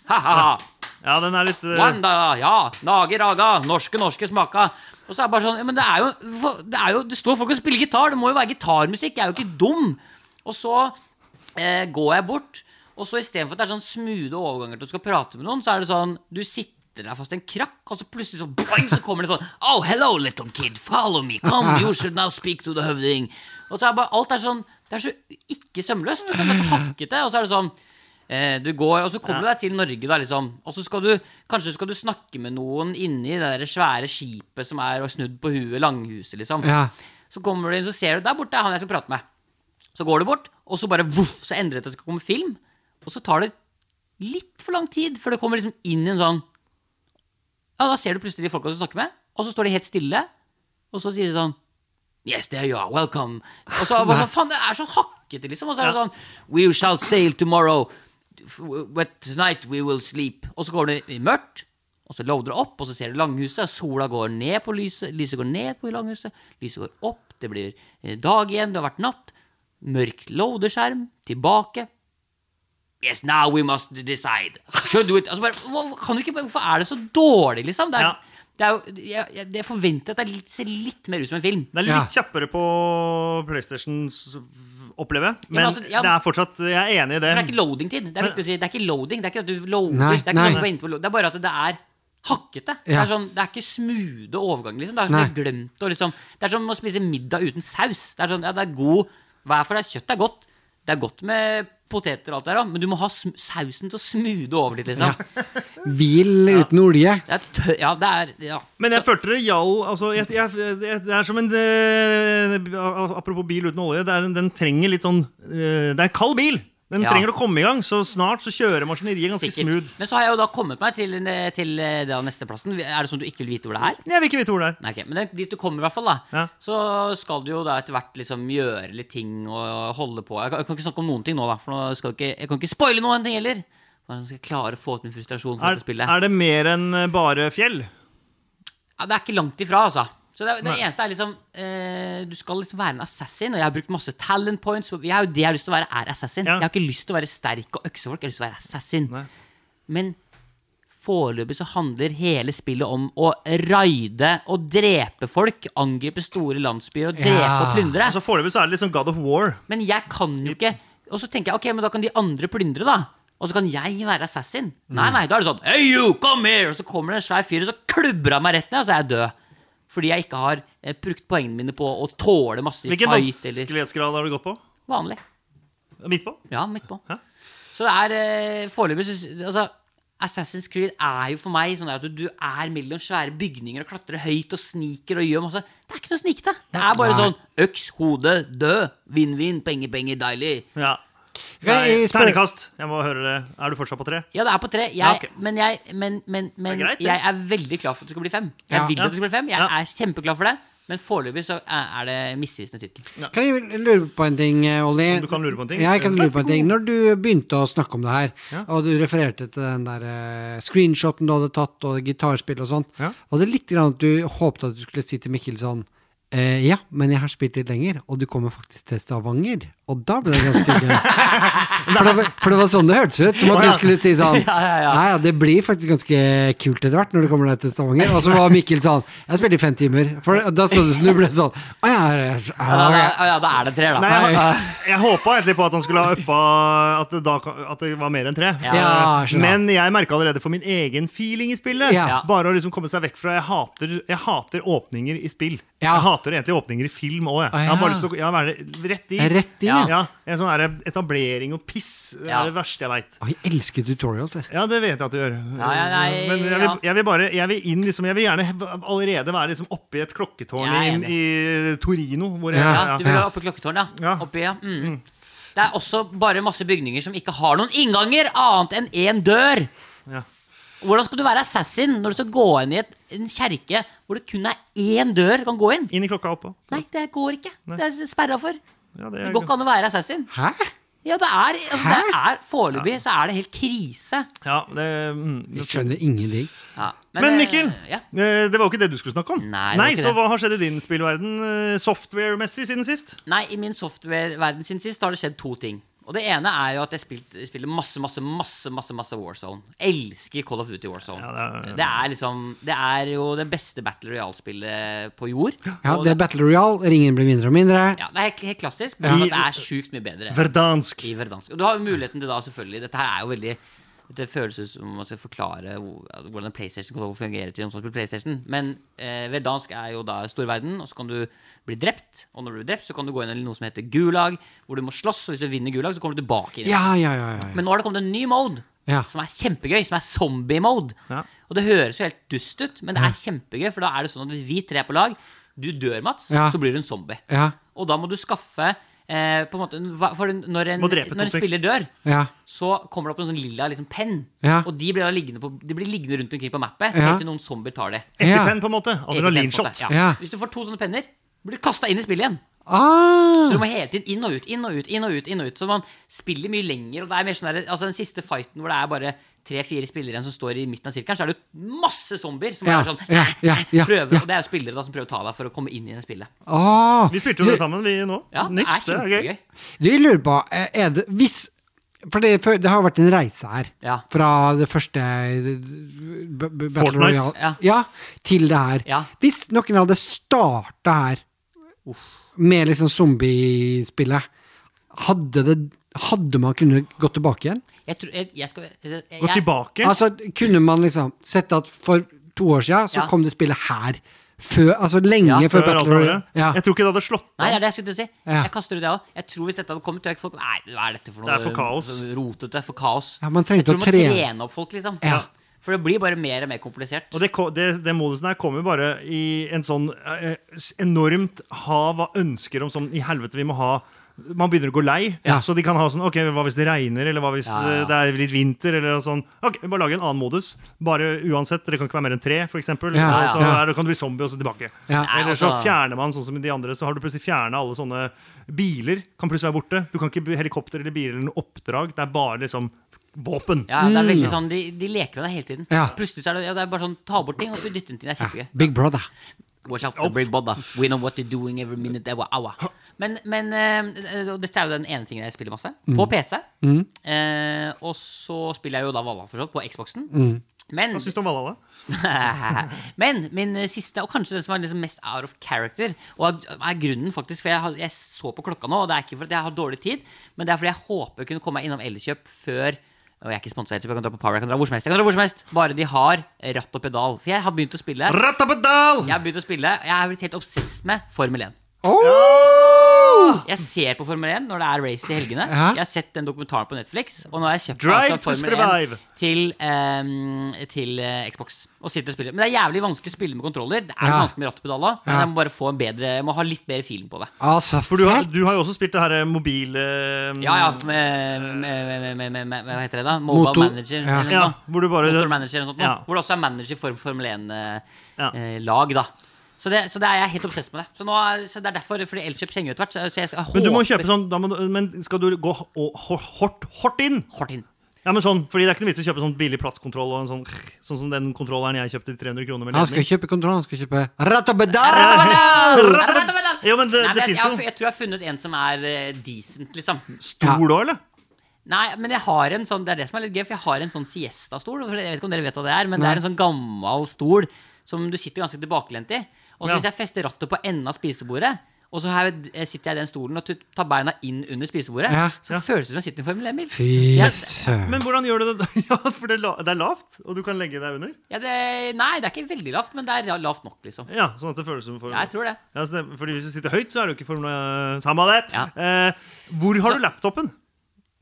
Ha-ha-ha. Ja, den er litt eh, Wanda, ja, Nage Raga, norske, norske smaka. Og så er det bare sånn, ja, men det er jo, hvorfor- det er jo Det står folk og spiller gitar, det må jo være gitarmusikk, jeg er jo ikke dum. Og så eh, går jeg bort, og så istedenfor at det er sånn smoothe overganger til du skal prate med noen, så er det sånn, du sitter der fast i en krakk, og så plutselig så, boing, så kommer det sånn Oh, hello, little kid, follow me, come, you should now speak to the høvding. Og så er bare, alt er sånn, det er så ikke sømløst. Det er så hakkete, og så er det sånn Eh, du går, og så kommer du deg til Norge, da, liksom. Og så skal du, kanskje skal du snakke med noen inni det der svære skipet som er og snudd på huet, langhuset, liksom. Ja. Så kommer du inn, så ser du der borte er han jeg skal prate med. Så går du bort, og så bare voff, så endrer det til at det skal komme film. Og så tar det litt for lang tid før det kommer liksom inn i en sånn Ja, da ser du plutselig de folka du snakker med, og så står de helt stille, og så sier de sånn Yes, there you are, welcome. Og så bare, sånn, faen, det er så hakkete, liksom. Og så er det Ja. sånn We shall sail tomorrow, f- but tonight we will sleep. Og så går det i mørkt, og så loader det opp, og så ser du langhuset, sola går ned på lyset, lyset går ned på langhuset, lyset går opp, det blir eh, dag igjen, det har vært natt. Mørk loaderskjerm, tilbake. Yes, now we must decide. Should we altså bare, hva- kan du ikke, bare- Hvorfor er det så dårlig, liksom? Det er, Ja. det er jo, jeg, jeg, jeg forventer at det er litt- ser litt mer ut som en film. Det er Ja. litt kjappere på PlayStation, s- opplever jeg. men Men altså, ja, det er fortsatt Jeg er enig i det. For det er ikke loading-tid. Det er viktig å si. Det er ikke loading. Det er ikke at du loader. Nei, det, er ikke sånn nei. at du er inne på lo- det er bare at det er hakkete. Det, Ja. er sånn, det er ikke smoothe overganger, liksom. Det er, Nei. sånn, det, er glemt, og liksom, det er som å spise middag uten saus. Det er sånn, ja, det er god Hver for deg. Kjøtt er godt. Det er godt med poteter og alt det der, også, men du må ha sm sausen til å smoothe over litt, liksom. Hvil uten olje. Det er tø ja, det er Ja. Men jeg følte det gjall altså, jeg, jeg, jeg, Det er som en eh, Apropos bil uten olje. Det er, en- den trenger litt sånn eh, Det er en kald bil! Den Ja. trenger å komme i gang, så snart så kjører maskineriet ganske Sikkert. smooth. Men så har jeg jo da kommet meg til, til eh, da neste plassen. Er det sånn du ikke vil vite hvor det er? Jeg vil ikke vite hvor det er. Nei, ok, Men det, dit du kommer, i hvert fall, da, Ja. så skal du jo da etter hvert liksom gjøre litt ting og holde på. Jeg kan, jeg kan ikke snakke om noen ting nå, da, for nå skal jeg ikke, jeg kan ikke spoile noen ting heller. Men jeg skal klare å få ut min frustrasjon for Er, dette spillet. er det mer enn eh, bare fjell? Ja, det er ikke langt ifra, altså. Så det, det eneste er liksom eh, Du skal liksom være en assassin, og jeg har brukt masse talent points. og Jeg er jo det jeg har lyst til å være, er assassin. Ja. Jeg har ikke lyst til å være sterk og øksefolk. Jeg har lyst til å være assassin. Nei. Men foreløpig så handler hele spillet om å raide og drepe folk. Angripe store landsbyer og drepe Ja. og plyndre. Altså Foreløpig så er det litt sånn God of War. Men jeg kan jo ikke Og så tenker jeg, ok, men da kan de andre plyndre da Og så kan jeg være assassin Nei, nei, da er det sånn, hey you, come here Og så kommer det en svær fyr, og så klubber han meg rett ned Og så er jeg død Fordi jeg ikke har eh, brukt poengene mine på Å tåle masse Hvilken fight eller vanskelighetsgrad har du gått på? vanlig Midt på? Ja, midt på Hæ? Så det er eh, foreløpig så- Altså Assassin's Creed er jo for meg sånn at du, du er mellom svære bygninger og klatrer høyt og sniker og gjør masse. Det er ikke noe snikete. Det er bare Nei. sånn øks, hode, død, vinn-vinn, penger, penger, deilig. Ja. Jeg Nei, spør- Ternekast. Jeg må høre det. Er du fortsatt på tre? Ja, det er på tre. Jeg, Ja, ok. Men, jeg, men, men, men Det er greit, det. jeg er veldig klar for at det skal bli fem. Jeg Ja. vil at det skal bli fem. Jeg Ja. er kjempeklar for det. Men foreløpig så er er det misvisende tittel. Kan jeg lure på en ting, eh, Olli? Du kan lure på en ting? Ja, jeg kan Vær lure på en ting. Når du begynte å snakke om det her, Ja. og du refererte til den der eh, screenshoten du hadde tatt, og gitarspill og sånt, Ja. var det litt grann at du håpte at du skulle si til Mikkel sånn eh, ja, men jeg har spilt litt lenger, og du kommer faktisk til Stavanger. Og da ble det ganske gøy. For det, var- for det var sånn det hørtes ut. Som Å, at ja. du skulle si sånn Ja, ja, ja. Nei, ja, det blir faktisk ganske kult etter hvert når du kommer deg til Stavanger. Og så var Mikkel sånn Jeg spiller i fem timer. For da så det ut som du ble sånn Å ja, ja, Ja, da, ja, ja, da, ja, da er det tre, da. Nei, jeg, jeg håpa egentlig på at han skulle ha uppa at det, da, at det var mer enn tre. Ja. Ja, jeg skjønner. Men jeg merka allerede for min egen feeling i spillet. Ja. Bare å liksom komme seg vekk fra Jeg hater, jeg hater åpninger i spill. Ja. Jeg hater egentlig åpninger i film òg. Jeg. Å, ja. jeg har bare lyst til å ja, være rett i. Rett i, ja. Ja, en sånn her Etablering og piss Det er Ja. det verste jeg veit. Å, jeg elsker tutorials, jeg. Ja, det vet jeg at du gjør. Ja, ja, nei, Men jeg vil, ja. jeg vil bare Jeg vil inn liksom Jeg vil gjerne he- allerede være liksom oppi et klokketårn Jeg er i, i Torino. Hvor jeg, Ja. Ja, du vil være oppe i klokketårnet, ja. Ja. Oppe, ja. Mm. Det er også bare masse bygninger som ikke har noen innganger annet enn én dør. Ja. Hvordan skal du være assassin når du skal gå inn i et, en kjerke hvor det kun er én dør du kan gå inn? Inn i klokka oppå. Nei, det går ikke. Det er sperra for. Ja, det Det er går ikke an å være assassin. Hæ? Ja, det er, altså, det er Foreløpig så er det helt krise. ja, det, mm, Jeg skjønner ingenting. Ja, Men eh, Mikkel, Ja. eh, det var jo ikke det du skulle snakke om. Nei, det var ikke Så det. hva har skjedd i din spillverden eh, software-messig siden sist? Nei, i min software-verden sin sist har det skjedd to ting. Og det ene er jo at jeg spilt, spiller masse, masse, masse masse, masse Warzone. Elsker Call of Duty Warzone. Ja, det, det er, er- liksom Det er jo det beste Battle Royale-spillet på jord. Ja, Og det er Battle Royale. Ringen blir mindre og mindre. ja, det er helt, helt klassisk, Ja. men at det er sjukt mye bedre. Verdansk. I verdansk. Og du har jo muligheten til da, selvfølgelig Dette her er jo veldig det føles ut som om man skal forklare hvor- hvordan en PlayStation-kontroll fungerer til noen som har spilt PlayStation. Men eh, verdansk er jo da storverden, og så kan du bli drept. Og når du blir drept, så kan du gå inn i noe som heter gulag, hvor du må slåss. Og hvis du vinner gulag, så kommer du tilbake inn. Ja, ja, ja. ja, ja. Men nå har det kommet en ny mode Ja. som er kjempegøy, som er zombie-mode. Ja. Og det høres jo helt dust ut, men det er kjempegøy, for da er det sånn at hvis vi tre er på lag, du dør, Mats, Ja. så blir du en zombie. Ja. Og da må du skaffe eh, på en måte, hva- For når en, Må drepe to når en stykk. spiller dør, Ja. så kommer det opp en sånn lilla liksom, penn. Ja. Og de blir, da liggende på, de blir liggende rundt omkring på mappet Ja. helt til noen zombier tar det. Epipenn, på en måte. Adrenalinshot. Ja. Ja. Hvis du får to sånne penner, blir du kasta inn i spillet igjen. Så Ah, du må hele tiden inn og ut, inn og ut, inn og ut. inn og ut Så man spiller mye lenger. Og det er mer sånn der, altså Den siste fighten hvor det er bare tre-fire spillere igjen som står i midten av sirkelen, så er det jo masse zombier som Ja, er sånn ja, ja, ja, prøver, ja. Og det er jo spillere da som prøver å ta deg for å komme inn i det spillet. ah. Vi spilte jo det sammen, vi nå. Ja, det er Nyss. Det er gøy. kjempegøy. Du jeg lurer på, eh, er det hvis For det, for det har vært en reise her. Ja. Fra det første eh, b- b- Battle Fortnite. Royale Ja. ja, til det her. Ja. Hvis noen hadde starta her med liksom zombiespillet, hadde det hadde man kunnet gå tilbake igjen? Jeg tror jeg, jeg skal jeg, Gå jeg, tilbake. Altså, kunne man liksom sett at for to år siden så Ja. kom det spillet her? Før, altså lenge Ja, før, Før alt Battle det Royale. andre. Ja. Jeg tror ikke det hadde slått Nei, det er det jeg skulle til å si. Ja. Jeg kaster ut det òg. Jeg tror hvis dette hadde kommet, tror jeg ikke folk Nei, hva er dette for noe Det er for kaos. rotete? For kaos. Ja, man trengte jeg tror å man trene. trene opp folk, liksom. Ja. For det blir bare mer og mer komplisert. Og det, ko- det, det modusen her kommer bare i en sånn eh, enormt hav av ønsker om sånn I helvete, vi må ha Man begynner å gå lei. Ja. Så de kan ha sånn OK, hva hvis det regner, eller hva hvis Ja, ja, ja. eh, det er litt vinter, eller sånn. OK, vi bare lage en annen modus. Bare uansett. Det kan ikke være mer enn tre, f.eks. eksempel Ja, Og ja, Så ja. er, kan du bli zombie, og så tilbake. Ja. Nei, Eller så altså- fjerner man sånn som i de andre, så har du plutselig fjerna alle sånne biler. Kan plutselig være borte. Du kan ikke by- helikopter eller biler eller noe oppdrag. Det er bare liksom våpen. Ja, det er veldig sånn, de, de leker med deg hele tiden. Ja. Plutselig så er det, ja, det er bare sånn ta bort ting og dytte dem til. Det er kjempegøy. Big Brother. Watch out, the big brother. We know what you're doing every minute, every hour. Men, men eh, og dette er jo den ene tingen jeg spiller masse. På PC. Eh, og så spiller jeg jo da Valhall forstått på Xboxen. Men Hva syns du om Valhalla? Men min eh, siste, og kanskje den som er liksom mest out of character, og er- er grunnen faktisk For jeg, har, jeg så på klokka nå, og det er ikke fordi jeg har dårlig tid, men det er fordi jeg håper å kunne komme meg innom Elkjøp før og jeg er ikke sponset, så jeg kan dra på Power, jeg kan dra hvor som helst. Jeg kan dra hvor som helst Bare de har ratt og pedal. For jeg har begynt å spille Rattapedal! Jeg har begynt å spille Jeg har blitt helt obsess med Formel 1. Oh! Jeg ser på Formel 1 når det er race i helgene. Ja. Jeg har sett den dokumentaren på Netflix. Og nå har jeg kjøpt Drive altså, to Formel survive. 1 til, ehm, til eh, Xbox. Og sitter og spiller Men det er jævlig vanskelig å spille med kontroller. Det er Ja. vanskelig med rattpedal òg. Men Ja. jeg må bare få en bedre Jeg må ha litt bedre feeling på det. Altså, For du har, fett. du har jo også spilt det her eh, mobil... eh, Ja, ja, med, med, med, med, med, med Hva heter det, da? Mobile Motor- Manager. Ja. Eller noe. Ja, hvor du bare Motor Manager eller noe sånt. nå. Ja. Hvor det også er manager for Formel 1-lag, Ja. eh, da. Så det, så det er jeg helt obsess med det. Så, nå, er- så det er derfor, fordi Elkjøp kjenner jo etter hvert. Så jeg, så jeg, Men du må håper- kjøpe sånn da må, du- Men skal du gå h- og- h- hardt hardt inn? Hardt inn. Ja, men sånn, fordi Det er ikke noe vits i å kjøpe sånn billig plastkontroll og en sånn, sånn som den kontrolleren jeg kjøpte til 300 kroner. med Han skal ledning. ikke kjøpe kontroll, han skal kjøpe ratabedar! Jo, men det, Nei, men det jeg, jeg, fins har, jo jeg tror jeg har funnet en som er eh, decent, liksom. stol òg, eller? Nei, men jeg har en sånn, det er det som er litt gøy, for jeg har en sånn siesta-stol. for Jeg vet ikke om dere vet hva det er, men det Nei. er en sånn gammel stol som du sitter ganske tilbakelent i. Og Ja. så hvis jeg fester rattet på enden av spisebordet, og så her, eh, sitter jeg i den stolen og tu- tar beina inn under spisebordet, Ja. så føles det som jeg sitter i en Formel 1-bil. Fy Ja, søren. Men hvordan gjør du det? Ja, for det er, la, det er lavt, og du kan legge deg under? det, nei, det er ikke veldig lavt, men det er lavt nok, liksom. Ja, sånn at det føles som for, Ja, jeg tror det. Ja, så det- fordi hvis du sitter høyt, så er det jo ikke for noe Samme av det. Ja. Eh, hvor har Så- du laptopen?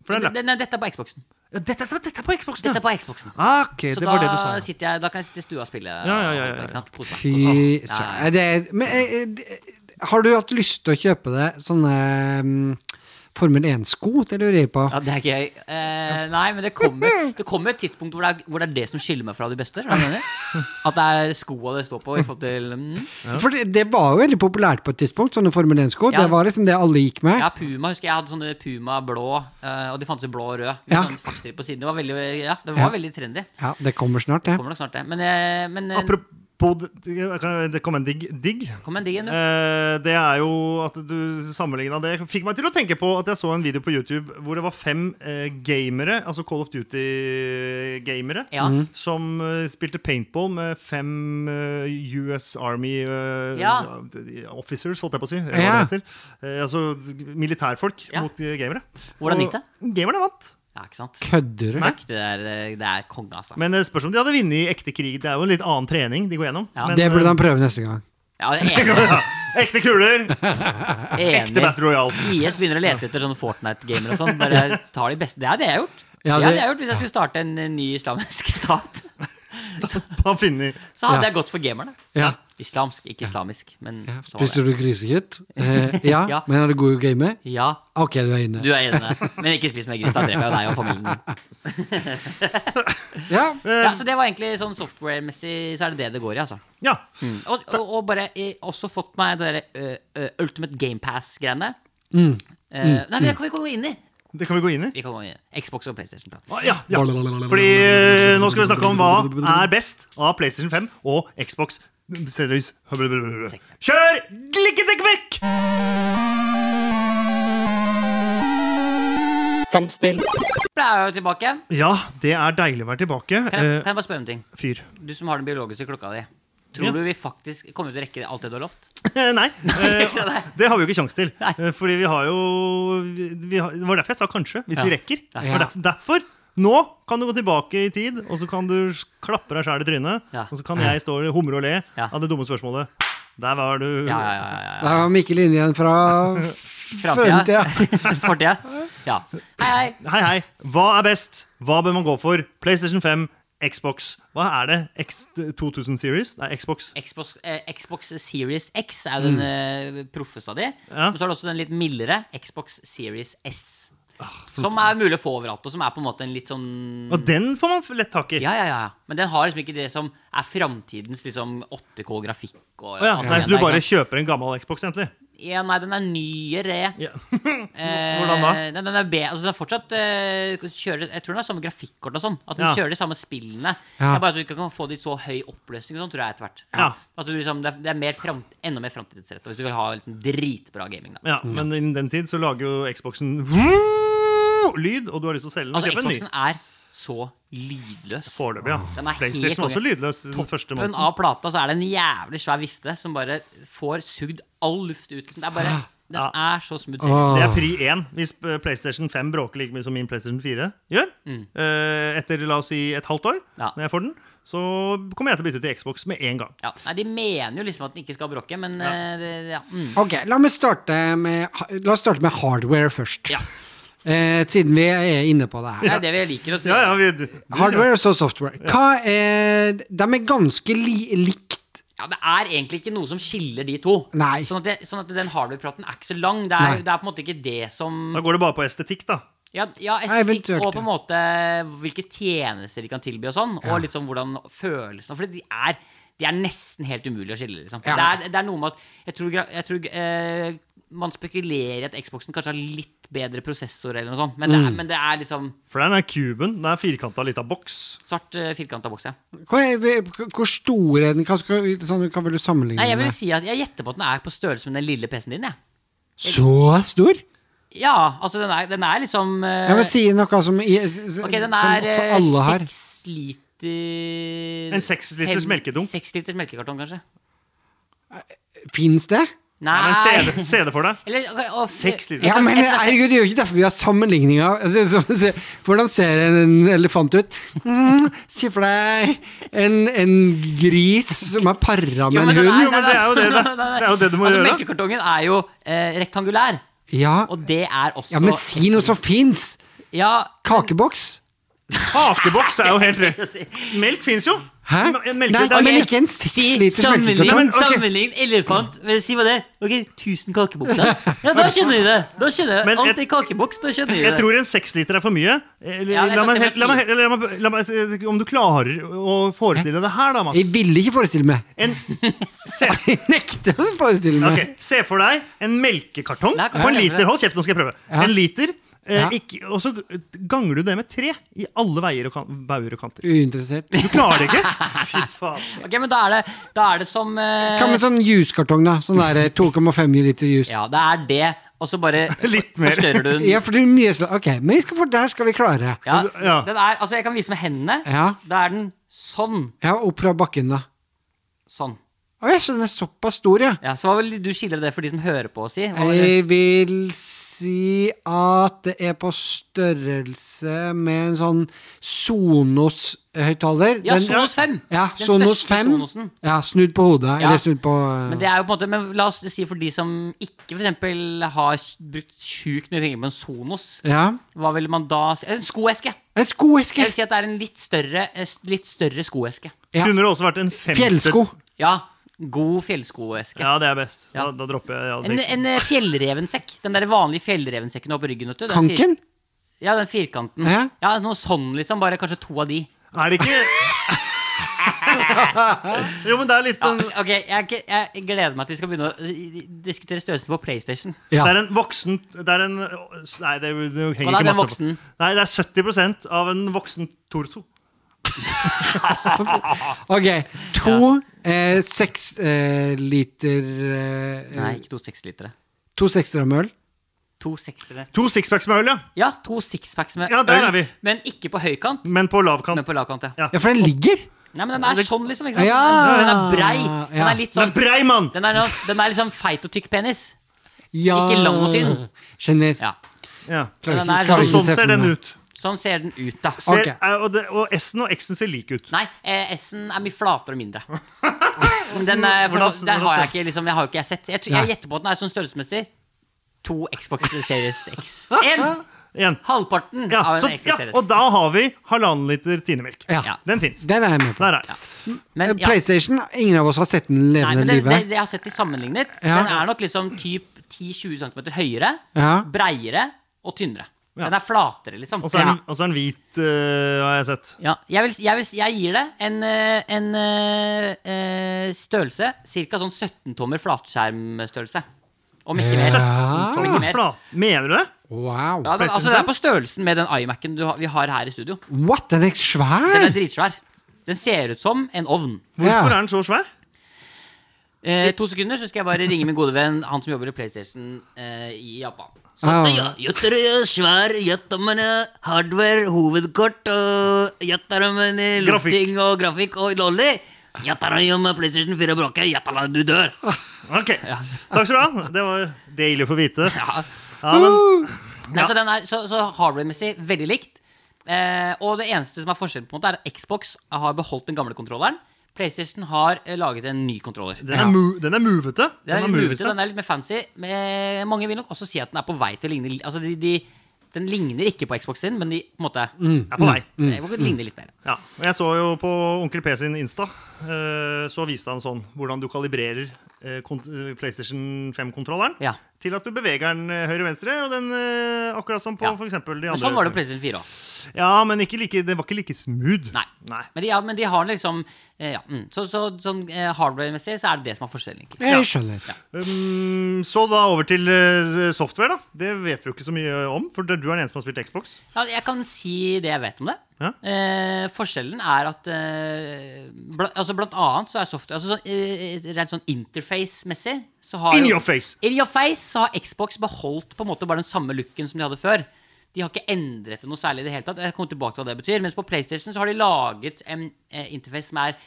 For det er lap Men det- Nei, dette er på Xboxen. Ja, dette, dette, dette er på Xboxen, ja. Dette er på Xboxen. Ah, ok, det Så da, var det du sa. ja. sitter jeg, da kan jeg sitte i stua og spille. ja, ja, ja. Ikke sant? Kose meg. Fy Kose meg. søren. Ja, ja. Nei, Det er, men eh, eh, det- har du hatt lyst til å kjøpe deg sånne mm, Formel 1-sko? Det lurer jeg på. Ja, det er gøy. Eh, nei, men det kommer, det kommer et tidspunkt hvor det, er, hvor det er det som skiller meg fra de beste. skjønner du hva jeg mener? At det er skoa det står på. I forhold til mm. For det, det var jo veldig populært på et tidspunkt, sånne Formel 1-sko. Ja. Det var liksom det alle gikk med. Ja, Puma husker jeg hadde sånne Puma blå, eh, og de fantes i blå og rød. Med Ja. sånn fartstripe på siden. Det var veldig, ja, det Ja. var veldig trendy. Ja, det kommer snart, det. Kommer nok snart, det. Men, eh, men eh, Apropos det- Det kom en digg. digg. kom med en digg en, du. Eh, det er jo at du sammenligna det Fikk meg til å tenke på at jeg så en video på YouTube hvor det var fem eh, gamere, altså Call of Duty-gamere, Ja. Mhm. som eh, spilte paintball med fem eh, US Army eh, Ja. officers, holdt jeg på å si. eller Hva Ja. det heter. Eh, altså militærfolk Ja. mot eh, gamere. Og Hvordan gikk det? Gamerne vant. Ja, ikke sant? Kødder du? Nei. Det er, eh, det er konge, altså. Eh, Men eh, spørs om de hadde vunnet i ekte krig. Det er jo en litt annen trening de går gjennom. Ja. Men, Det burde eh, han prøve neste gang. Ja, det er enig. Ekte kuler! Ekte enig. Battle Royale. IS begynner å lete etter sånne Fortnite-gamer og sånn. Bare tar de beste. Det er det jeg har gjort. det, Ja, det- hadde jeg gjort Hvis jeg skulle starte en eh, ny islamsk stat, Han finner så hadde Ja. jeg gått for gamerne. Ja. Islamsk, ikke islamisk, men Ja. sånn var det. Spiser du grisekjøtt? Eh, ja. Ja. Men er du god i å game? Ja, Ok, du er inne. du er enig. Men ikke spis mer gris. Da dreper jeg deg og familien din. Ja. Ja, så det var egentlig sånn software-messig, så er det det det går i, altså. Ja. Og, og, og bare eh, også fått meg det derre eh, eh, Ultimate GamePass-greiene. Mm. nei, det kan vi ikke gå inn i. Det kan vi gå inn i. Vi kan gå inn i Xbox og PlayStation. Prat. Ah, Ja, ja. Fordi eh, nå skal vi snakke om hva er best av PlayStation 5 og Xbox Series Kjør glikketeknikk! Samspill. Da er jeg jo tilbake. Ja, det er deilig å være tilbake. Kan jeg, Eh, kan jeg bare spørre om en ting? Fyr. Du som har den biologiske klokka di. Tror Ja. du vi faktisk kommer til å rekke alt det du har lovt? Nei. eh, Det har vi jo ikke kjangs til. Nei. Eh, Fordi vi har jo vi, vi har, Det var derfor jeg sa kanskje, hvis Ja. vi rekker. Ja. Det var derf- derfor nå kan du gå tilbake i tid, og så kan du s- klappe deg sjæl i trynet. Ja. Og så kan jeg stå og humre og le Ja. av det dumme spørsmålet. Der var du. Ja, ja, ja, ja, ja. Da var Mikkel inne igjen fra Framtida. fremtida. Fortida. Ja. Hei, hei. Hei, hei. Hva er best? Hva bør man gå for? PlayStation 5, Xbox. Hva er det? X2000 Series? Nei, Xbox. Xbox, eh, Xbox Series X er den eh, proffeste av de. Mm. Ja. Men så er det også den litt mildere Xbox Series S. Som er mulig å få overalt, og som er på en måte en litt sånn Ah, Og den får man lett tak i. Ja, ja, ja. Men den har liksom ikke det som er framtidens liksom 8K-grafikk. Å og ja, alt Nei, det så du der, bare ikke sant? kjøper en gammel Xbox, egentlig? ja, Nei, den er nyere. Ja. Eh, Hvordan da? Den, den, er be, altså den er fortsatt eh, kjører, Jeg tror den har samme grafikkort og sånn. At den Ja. kjører de samme spillene. Det Ja. er bare at du ikke kan få de så høy oppløsning og sånn, tror jeg etter hvert. Ja. At du liksom, det er, det er mer fram, enda mer framtidsrettet hvis du vil ha liksom, dritbra gaming. da ja, Men innen den tid så lager jo Xboxen lyd, og du har lyst til å selge den og Altså, kjøpe en ny. Xboxen er så lydløs. Foreløpig, Den er ja. helt PlayStation er også konge. lydløs den første Toppen måneden. av plata så er det en jævlig svær vifte som bare får sugd all luft ut. liksom. Det er bare Den Ah, Ja. er så smooth. sailing. Det Åh. er pri én hvis eh, PlayStation 5 bråker like mye som min PlayStation 4 gjør. Eh, Etter la oss si et halvt år, Mm. Ja. når jeg får den, så kommer jeg til å bytte ut til Xbox med en gang. Ja. Nei, de mener jo liksom at den ikke skal bråke, men eh, det, ja. Mm. Ok, la, meg starte med, la oss starte med hardware først. ja. Eh, siden vi er inne på det her. Det er det vi liker å spille. Ja, ja, vi, du- du- Hardware og så software. Hva er, de er ganske li likt. Ja, Det er egentlig ikke noe som skiller de to. Nei. Sånn at, det, sånn at den hardware-praten er ikke så lang. Det er, Nei. det er på en måte ikke det som Da går det bare på estetikk, da. Ja, ja estetikk eventuelt, og på en ja. måte hvilke tjenester de kan tilby og sånn. Og litt sånn hvordan følelsene For de er de er nesten helt umulig å skille. Liksom. Ja. Det, er, det er noe med at Jeg tror, gra- jeg tror eh, man spekulerer i at Xboxen kanskje har litt bedre prosessor, eller noe sånt, men, Mm. det, er, men det er liksom For det er den der kuben. Den er firkanta lita boks. svart, eh, firkanta boks. Ja. Hvor, er- hvor stor er den? Hva, skal, sånn, hva vil du sammenligne Nei, jeg den vil med? si at jeg gjetter på at den er på størrelse med den lille PC-en din. jeg. Så stor? Ja, altså den er, den er liksom eh, Jeg vil si noe som, i, s- Ok, den som er for eh, alle her. seks liter En seks liters fem- melkedunk. Seks liters melkekartong, kanskje. Fins det? Nei! Ja, men se, det- se det for deg. Eller, ok, og- Seks liter. Ja, men Et eller annet- herregud, Det er jo ikke derfor vi har sammenligninger. Det er som å se- Hvordan ser en elefant ut? Mm, Se for deg en, en gris som er Jo, para med en den hund. Jo, men det er jo det det- Nei, nei, nei. det er jo det du må altså, gjøre. Melkekartongen er jo eh, rektangulær, Ja, og det er også ja, men si noe som fins! Ja, Kakeboks. Kakeboks er jo helt rød. si- Melk fins jo. Hæ? M- Nei, Melk, det er men Ok, ikke en seks si liters sammenlign, Nei, men, ok. melkekartong. sammenlign elefant med Si hva det er. Ok, 1000 kakebokser. Ja, da skjønner vi det. Da skjønner jeg Men Alt jeg- i kakeboks, da skjønner vi Jeg det. tror en seksliter er for mye. Eller, Ja, jeg la kan meg, se helt- la meg, meg eller la meg, la meg, se- om du klarer å forestille deg det her, da, Jeg Mats. ville ikke forestille meg. En, se, Jeg nekter å forestille meg. ok, se for deg en melkekartong Nei, på en jeg ser for liter. meg. Hold kjeft, nå skal jeg prøve. En liter. Eh, Ja. ikke, og så ganger du det med tre i alle veier og kan, bauger og kanter. Uinteressert. Du klarer det ikke? Fy faen. Ok, men da er det, da er det som eh, Hva med sånn juskartong, da? Sånn der eh, 2,5 liter jus. Ja. Ja, det er det, og så bare Litt mer. forstørrer du den. Ja, for det er mye slag. Ok, men vi skal for, der skal vi klare. Ja. Den er, altså, jeg kan vise med hendene. Ja. Da er den sånn. Ja, opp fra bakken, da. Sånn. Å ja, så den er såpass stor, ja. Ja, så hva vil du skille det for de som hører på, å si? Hva var det? Jeg vil si at det er på størrelse med en sånn Sonos-høyttaler. Ja, Den- Sonos 5. Ja, Den Sonos største 5. Sonosen. Ja, snudd på hodet. Ja. Eller snudd på Men det er jo på en måte Men la oss si for de som ikke for eksempel har s- brukt sjukt mye penger på en Sonos, Ja. hva ville man da si? En skoeske! En Jeg skoeske! vil si at det er en litt større, eh, s- litt større skoeske. Ja. Kunne det også vært en femte Fjellsko. Ja, god fjellskoeske. Ja, det er best. Ja. Da, da dropper jeg ja, En, det- en eh, fjellrevensekk. Den der vanlige fjellrevensekken du har på ryggen. Vet du. Den fir- Kanken? Ja, den firkanten. Ja. Ja, noe sånn liksom, bare kanskje to av de. Er det ikke Jo, men det er litt en, Ok, jeg, er ikke- jeg gleder meg til vi skal begynne å eh, diskutere størrelsen på PlayStation. Ja. Det er en voksen Det er en Nei, det, det henger Hva da, ikke den masse på. voksen? Nei, det er 70 av en voksen torso. Ok, to eh, seks eh, liter eh, Nei, ikke to seksliter. To sekstere med øl. To sekstere. To sixpacks med øl, ja. Ja, to sixpacks med Ja, der er vi. men ikke på høykant, Mm. Men på lavkant. men på lavkant. Ja. Ja. Ja, for den ligger! Nei, men den er sånn, liksom. Ikke sant? Ja. Den er brei. Den Ja. er litt Den sånn er brei, mann! Den er, noe- den er liksom feit og tykk penis. Ja. Ikke lang og tynn. Skjønner. Ja. Ja. Den Klarer ikke- er Så klarer ikke sånn se for ser den meg. ut. Sånn ser den ut, da. Ser, Ok. er- og, det, og S-en og X-en ser like ut. Nei, eh, S-en er mye flatere og mindre. Men den, eh, for, Hvordan- den har hvordan- jeg ikke liksom, jeg har jo ikke jeg sett. Jeg, tror- jeg gjetter på at den er sånn størrelsesmessig to Xbox Series X. En, Igjen. halvparten Ja, av en så, Xbox ja, Series og da har vi halvannen liter tinemelk. Ja. Ja. Den fins. Den er jeg med på. Eh, Der er Ja. den. Men, ja. PlayStation, ingen av oss har sett den Nei, men levende det, det, livet. det jeg har sett de sammenlignet, Ja. den er nok liksom typ 10-20 cm høyere, Ja. breiere og tynnere. Ja. Den er flatere, liksom. Og så er Ja. den, og så er den hvit, øh, har jeg sett. Ja, jeg, vil, jeg, vil, jeg gir det en, eh, en eh, eh, størrelse Cirka sånn 17-tommer flatskjermstørrelse. Om ikke mer. Om ikke mer. Fla- Mener du det? Wow. Ja, den, altså, PlayStation den er på størrelsen med den iMac-en du har- vi har her i studio. What, den Den er er svær! dritsvær. Den ser ut som en ovn. Hvorfor Ja. er den så svær? Eh, to sekunder, så skal jeg bare ringe min gode venn, han som jobber i PlayStation eh, i Japan. Ah. svær, eh, hardware, hovedkort og lufting eh, og grafikk og lolly. eh, PlayStation 4 bråker, du dør. Ok, Takk skal du ha. Det var deilig å få vite. Ja. Ja, men Nei, så, den er, så, så hardware-messig veldig likt. Eh, og det eneste som er forskjellen, på en måte er at Xbox har beholdt den gamle kontrolleren. PlayStation har eh, laget en ny kontroller. Den Den er, mo den er movete. Den er har litt movet movete, seg. den er litt mer fancy. Men eh, mange vil nok også si at den er på vei til å ligne Altså, de, de, den ligner ikke på Xbox sin, men de på en måte er på vei. eh, mm. ligner litt mer. Ja, og Jeg så jo på Onkel P sin Insta, eh, så viste han sånn hvordan du kalibrerer eh, kont- eh, PlayStation 5-kontrolleren Ja. til at du beveger den høyre-venstre, og den eh, akkurat som på Ja. for eksempel de Men andre. sånn var det på PlayStation 4 òg. Ja, men ikke like, det var ikke like smooth. Nei. Nei. Men, de, ja, men de har liksom eh, ja, mm. Så, så sånn eh, hardware-messig så er det det som er forskjellen, egentlig. Jeg skjønner. Um, så da over til eh, software, da. Det vet vi jo ikke så mye om, for det- du er den eneste som har spilt Xbox. Ja, jeg kan si det jeg vet om det. Ja. Eh, forskjellen er at eh, bla, altså Blant annet så er software altså, sånn, eh, Rent sånn interface-messig så har In jo- your face! In your face så har Xbox beholdt på en måte bare den samme looken som de hadde før. De har ikke endret det noe særlig i det hele tatt. Jeg kommer tilbake til hva det betyr. Mens på PlayStation så har de laget en eh, interface som er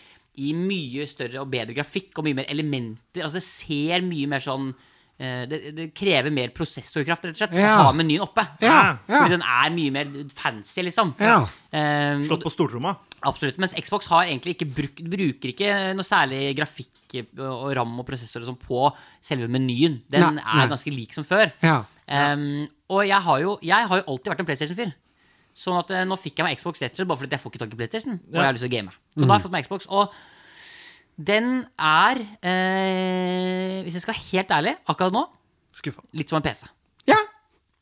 i mye større og bedre grafikk og mye mer elementer. Altså det ser mye mer sånn eh, det, det krever mer prosessorkraft, rett og slett. Ja. Å ha menyen oppe. Ja, ja. Fordi den er mye mer fancy, liksom. Ja. Eh, og- Slått på stortromma. Absolutt, mens Xbox har egentlig ikke bruk, bruker ikke noe særlig grafikk eh, og ram og prosessor og sånn på selve menyen. Den Nei, nei. er ganske lik som før. Ja. Ehm, og jeg har, jo, jeg har jo alltid vært en PlayStation-fyr. Sånn at eh, nå fikk jeg meg Xbox rett og slett bare fordi jeg får ikke tak i PlayStation. Og jeg har lyst til å game. Så da har jeg fått meg Xbox. Og den er, eh, hvis jeg skal være helt ærlig, akkurat nå Skuffa. litt som en PC. Ja.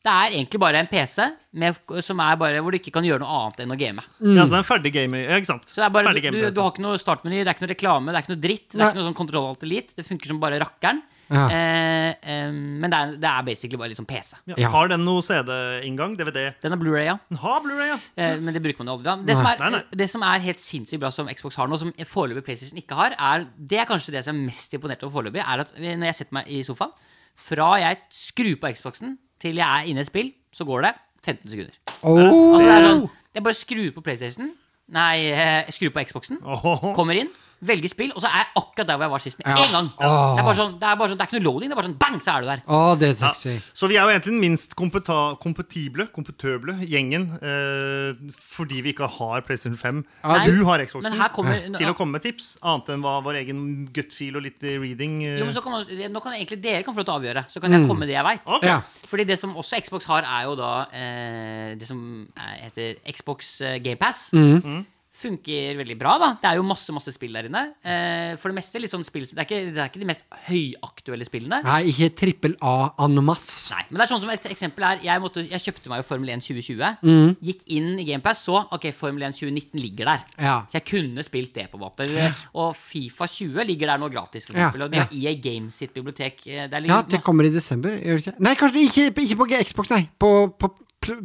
Det er egentlig bare en PC med, som er bare, hvor du ikke kan gjøre noe annet enn å game. Ja, så det er en ferdig gamer. Ja, ikke sant? Mm. Så det er bare, ferdig altså. du, du, gamer, du har ikke noe startmeny, det er ikke noe reklame, det er ikke noe dritt. Det er Nei. ikke noe sånn kontroll alt elite. Det funker som bare rakkeren. Ja. Eh, eh, men det er, det er basically bare litt sånn PC. ja. Ja. Har den noe CD-inngang? DVD? Den er Blu-ray, ja. Den har Blu-ray, ja. Eh, men det bruker man jo aldri. da. Det som, er, Nei, nei. det som er helt sinnssykt bra som Xbox har nå, som foreløpig PlayStation ikke har, er, det er kanskje det som er mest imponert over foreløpig, er at når jeg setter meg i sofaen Fra jeg skrur på Xboxen til jeg er inne i et spill, så går det 15 sekunder. Oh. Altså, det er sånn, jeg bare skrur på PlayStation Nei, eh, skrur på Xboxen. Åhåhå. Kommer inn, velger spill, og så er jeg akkurat der hvor jeg var sist. Med Ja. en gang. Åh. Det, er bare sånn, det er bare sånn, det er ikke noe loading. Det er bare sånn bang, så er du der. Å, det Altså- Ja. er sexy. Så vi er jo egentlig den minst kompeta- kompetible, kompetøble gjengen eh, fordi vi ikke har PlayStation 5. Ja, du har Xboxen. Men her kommer Til å komme med tips, annet enn hva vår egen gutfeel og litt eh, reading. eh. jo, men så kan man, Nå kan egentlig dere kan få lov til å avgjøre, så kan jeg komme med det jeg veit. Ok. Mm. Ja. Fordi det som også Xbox har, er jo da eh, det som eh, heter Xbox eh, GamePass. Mm. Mm. Funker veldig bra, da. Det er jo masse masse spill der inne. Eh, for det meste litt sånn spill som- det er, ikke, det er ikke de mest høyaktuelle spillene. Nei, ikke trippel A anmass. Nei, men det er sånn som et eksempel er Jeg, måtte, jeg kjøpte meg jo Formel 1 2020 Mm. Gikk inn i Gamepass Så, ok, Formel 1 2019 ligger der Ja. Så jeg kunne spilt det på en måte Eller- Og FIFA 20 ligger der nå gratis for Ja, eksempel Og de har EA Games sitt bibliotek eh, Der Ja, ligger det kommer i desember. Gjør det ikke? Nei, kanskje ikke, ikke på Xbox, nei. På, på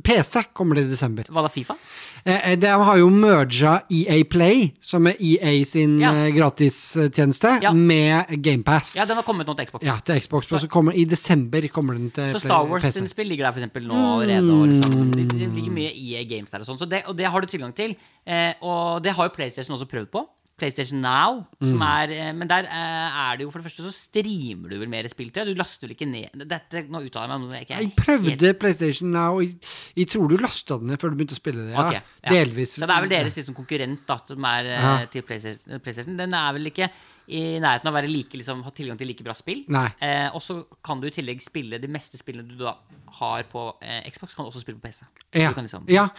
PC kommer det i desember. Hva da, FIFA? Eh, eh, De har jo merga EA Play, som er EA sin Ja. eh, gratistjeneste, Ja. med GamePass. Ja. Ja, den har kommet nå til Xbox til Xbox. Og så kommer i desember kommer den til Så Play- Star Wars PC. sine spill ligger der for eksempel nå allerede og Mm. liksom, det, det ligger mye EA Games der og sånn så det, Og det har du tilgang til eh, Og det har jo Playstation også prøvd på Playstation Now Mm. som er, eh, Men der eh, er det jo for det første så streamer du vel mer spill til Du laster vel ikke ned Dette, nå uttaler jeg meg om det ikke er Jeg helt- prøvde PlayStation Now. Jeg, jeg tror du lasta den ned før du begynte å spille det. Ja. Ok, ja. Delvis. Så det er vel deres liksom, konkurrent da, som er eh, Ja. til PlayStation, PlayStation. Den er vel ikke i nærheten av å være like, liksom, ha tilgang til like bra spill. Nei. Eh, og så kan du i tillegg spille de meste spillene du da har på eh, Xbox, kan du også spille på PC. Så Ja. Du kan, liksom, ja.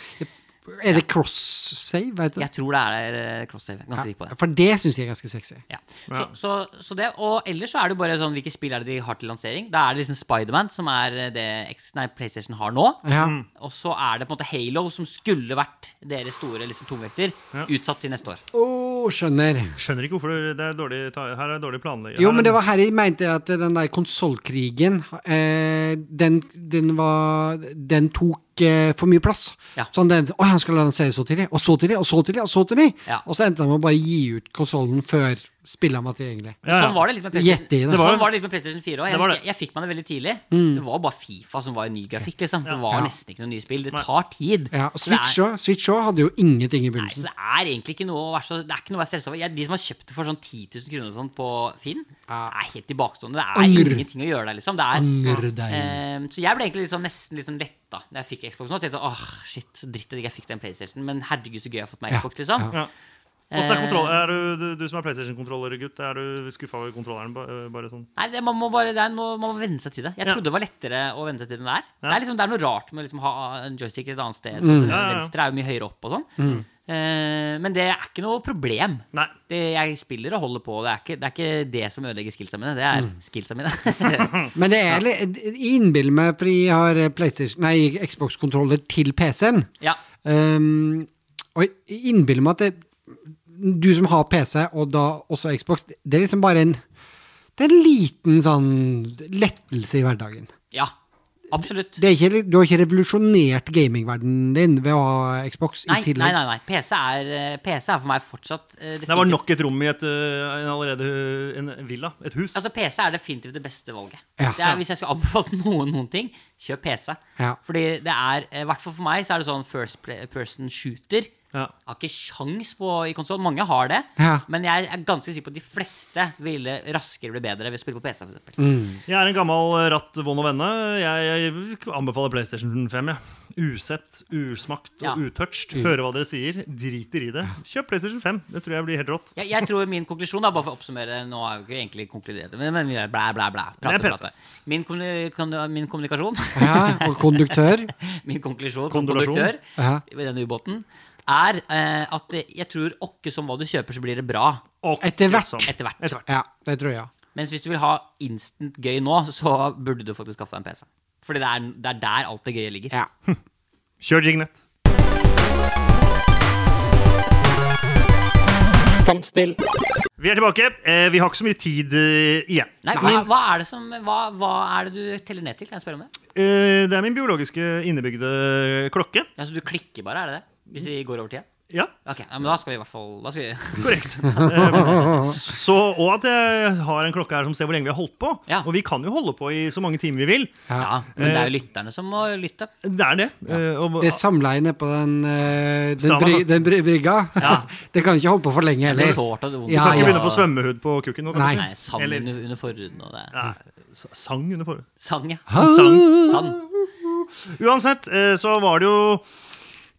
Er det cross-save? Vet du? Jeg tror det er eh, cross-save. Ganske sikker på Ja, det. for det syns jeg er ganske sexy. Ja. Så, så, så det, og ellers så er det jo bare sånn hvilke spill er det de har til lansering. Da er det liksom Spiderman, som er eh, det X, nei, PlayStation har nå. Ja. Og så er det på en måte Halo, som skulle vært deres store liksom, tungvekter, utsatt til neste år. Å, skjønner. Skjønner ikke hvorfor det er dårlig, ta- her er dårlig planlegging. Jo, men det var her jeg mente at den der konsollkrigen eh, den, den var Den tok eh, for mye plass. Ja. Sånn den, Å, han skal lansere så tidlig, og så tidlig, og så tidlig, og så tidlig. Ja. Og så endte han med å bare gi ut konsollen før spillene var tilgjengelig. Ja, ja. Sånn var det litt med Gjett i PlayStation, det. altså. Mm. var- sånn var det litt med PlayStation 4 òg. Det Jeg, var husker- jeg fikk meg det veldig tidlig. Det var bare Fifa som var i ny grafikk. liksom Det var Ja. nesten ikke noe nye spill. Det tar tid. Ja, og Så det er- Switch også- Switch òg hadde jo ingenting i Nei, så begynnelsen. det er egentlig ikke noe å være, så, det er ikke noe å være stresset over. Jeg, de som har kjøpt det for sånn 10 000 kroner og sånn på Finn, Ja. er helt tilbakestående. Det er Angrer. ingenting å gjøre der, liksom. Det er, Angrer deg. Ehm, så jeg ble egentlig liksom, nesten litt sånn letta da jeg fikk Xbox nå. Tenkte sånn, åh, shit, så dritt at jeg ikke fikk den PlayStation, men herregud, så gøy jeg har fått meg Ja, Xbox, liksom. Ehm, ja. Ja. Åssen er kontroll? Er du, du, du som er PlayStation-kontrollergutt, er du skuffa over kontrolleren? ba- øh, Bare sånn? Nei, det, man må bare det, er- må, man må venne seg til det. Jeg Ja. trodde det var lettere å venne seg til den der. Det, Ja. Mm. er liksom, det er noe rart med å liksom, ha en joystick et annet sted. Ja, ja, ja. Venstre er jo mye høyere opp og sånn. Eh, men det er ikke noe problem. Nei. Det, jeg spiller og holder på. Det er ikke det, er ikke det som ødelegger skillsa mine. Det Mm. er skillsa mine. Men det eh, er litt Jeg innbiller meg, for jeg har PlayStation Nei, Xbox-kontroller til PC-en. ja. Ehm, og jeg innbiller meg at det, du som har PC, og da også Xbox, det er liksom bare en det er en liten sånn lettelse i hverdagen. Ja, absolutt. Det er ikke, du har ikke revolusjonert gamingverdenen din ved å ha Xbox Nei, i nei, tillegg. nei. nei. PC, er, eh, PC er for meg fortsatt eh, Det var definitivt- nok et rom i et, eh, en allerede eh, en villa. Et hus. Altså PC er definitivt det beste valget. Ja. Det er, hvis jeg skulle anbefalt noen noen ting, kjøp PC. Ja. Fordi det er, eh, i hvert fall for meg, så er det sånn first pl- person shooter. Ja. Jeg Har ikke sjans på i konsoll. Mange har det. Ja. Men jeg er ganske sikker på at de fleste ville raskere bli bedre ved å spille på PC. For eksempel. Mm. Jeg er en gammel ratt vond å vende. Jeg, jeg anbefaler PlayStation 5. Ja. Usett, usmakt Ja. og utouched. Hører hva dere sier, driter i det. Kjøp PlayStation 5. Det tror jeg blir helt rått. Jeg, jeg tror min konklusjon, da, bare for å oppsummere Nå har jeg jo ikke egentlig konkludert, men, men blæ, blæ, blæ. Prate, Det er PC. prate. Min, kommuni- kon- min kommunikasjon, Ja, og konduktør. min konklusjon som Kondolasjon. konduktør Ja. ved denne ubåten, er eh, at jeg tror åkke som hva du kjøper, så blir det bra Og Etter hvert. sånn. etter hvert. Etter hvert. Ja, det tror jeg. Mens hvis du vil ha instant gøy nå, så burde du faktisk skaffe deg en PC. Fordi det er, det er der alt det gøye ligger. Ja. Kjør Jignet. samspill, Vi er tilbake. Eh, Vi har ikke så mye tid eh, igjen. Nei, hva, hva er det som hva, hva er det du teller ned til? Kan jeg spørre om det? Eh, Det er min biologiske innebygde klokke. Ja, så du klikker bare, er det det? Hvis vi går over tida? Ja, Ok, ja, men da skal vi i hvert fall da skal vi, korrekt. Eh, Så, og at jeg har en klokke her som ser hvor lenge vi har holdt på. Ja. Og vi kan jo holde på i så mange timer vi vil. Ja, Eh, men det er jo lytterne som må lytte. Det er det. Eh, og- Det samleiet nede på den, eh, den, Stranda. bry, den bry, brygga, det kan ikke holde på for lenge Det heller. er sårt og Du vondt. kan Ja, ikke ja. begynne å få svømmehud på kukken nå? Nei. kanskje? Nei, sang Eller- under, under forhuden og det. Nei, s- sang under forhånd. Sang, ja. Sang. Sang. Uansett, eh, så var det jo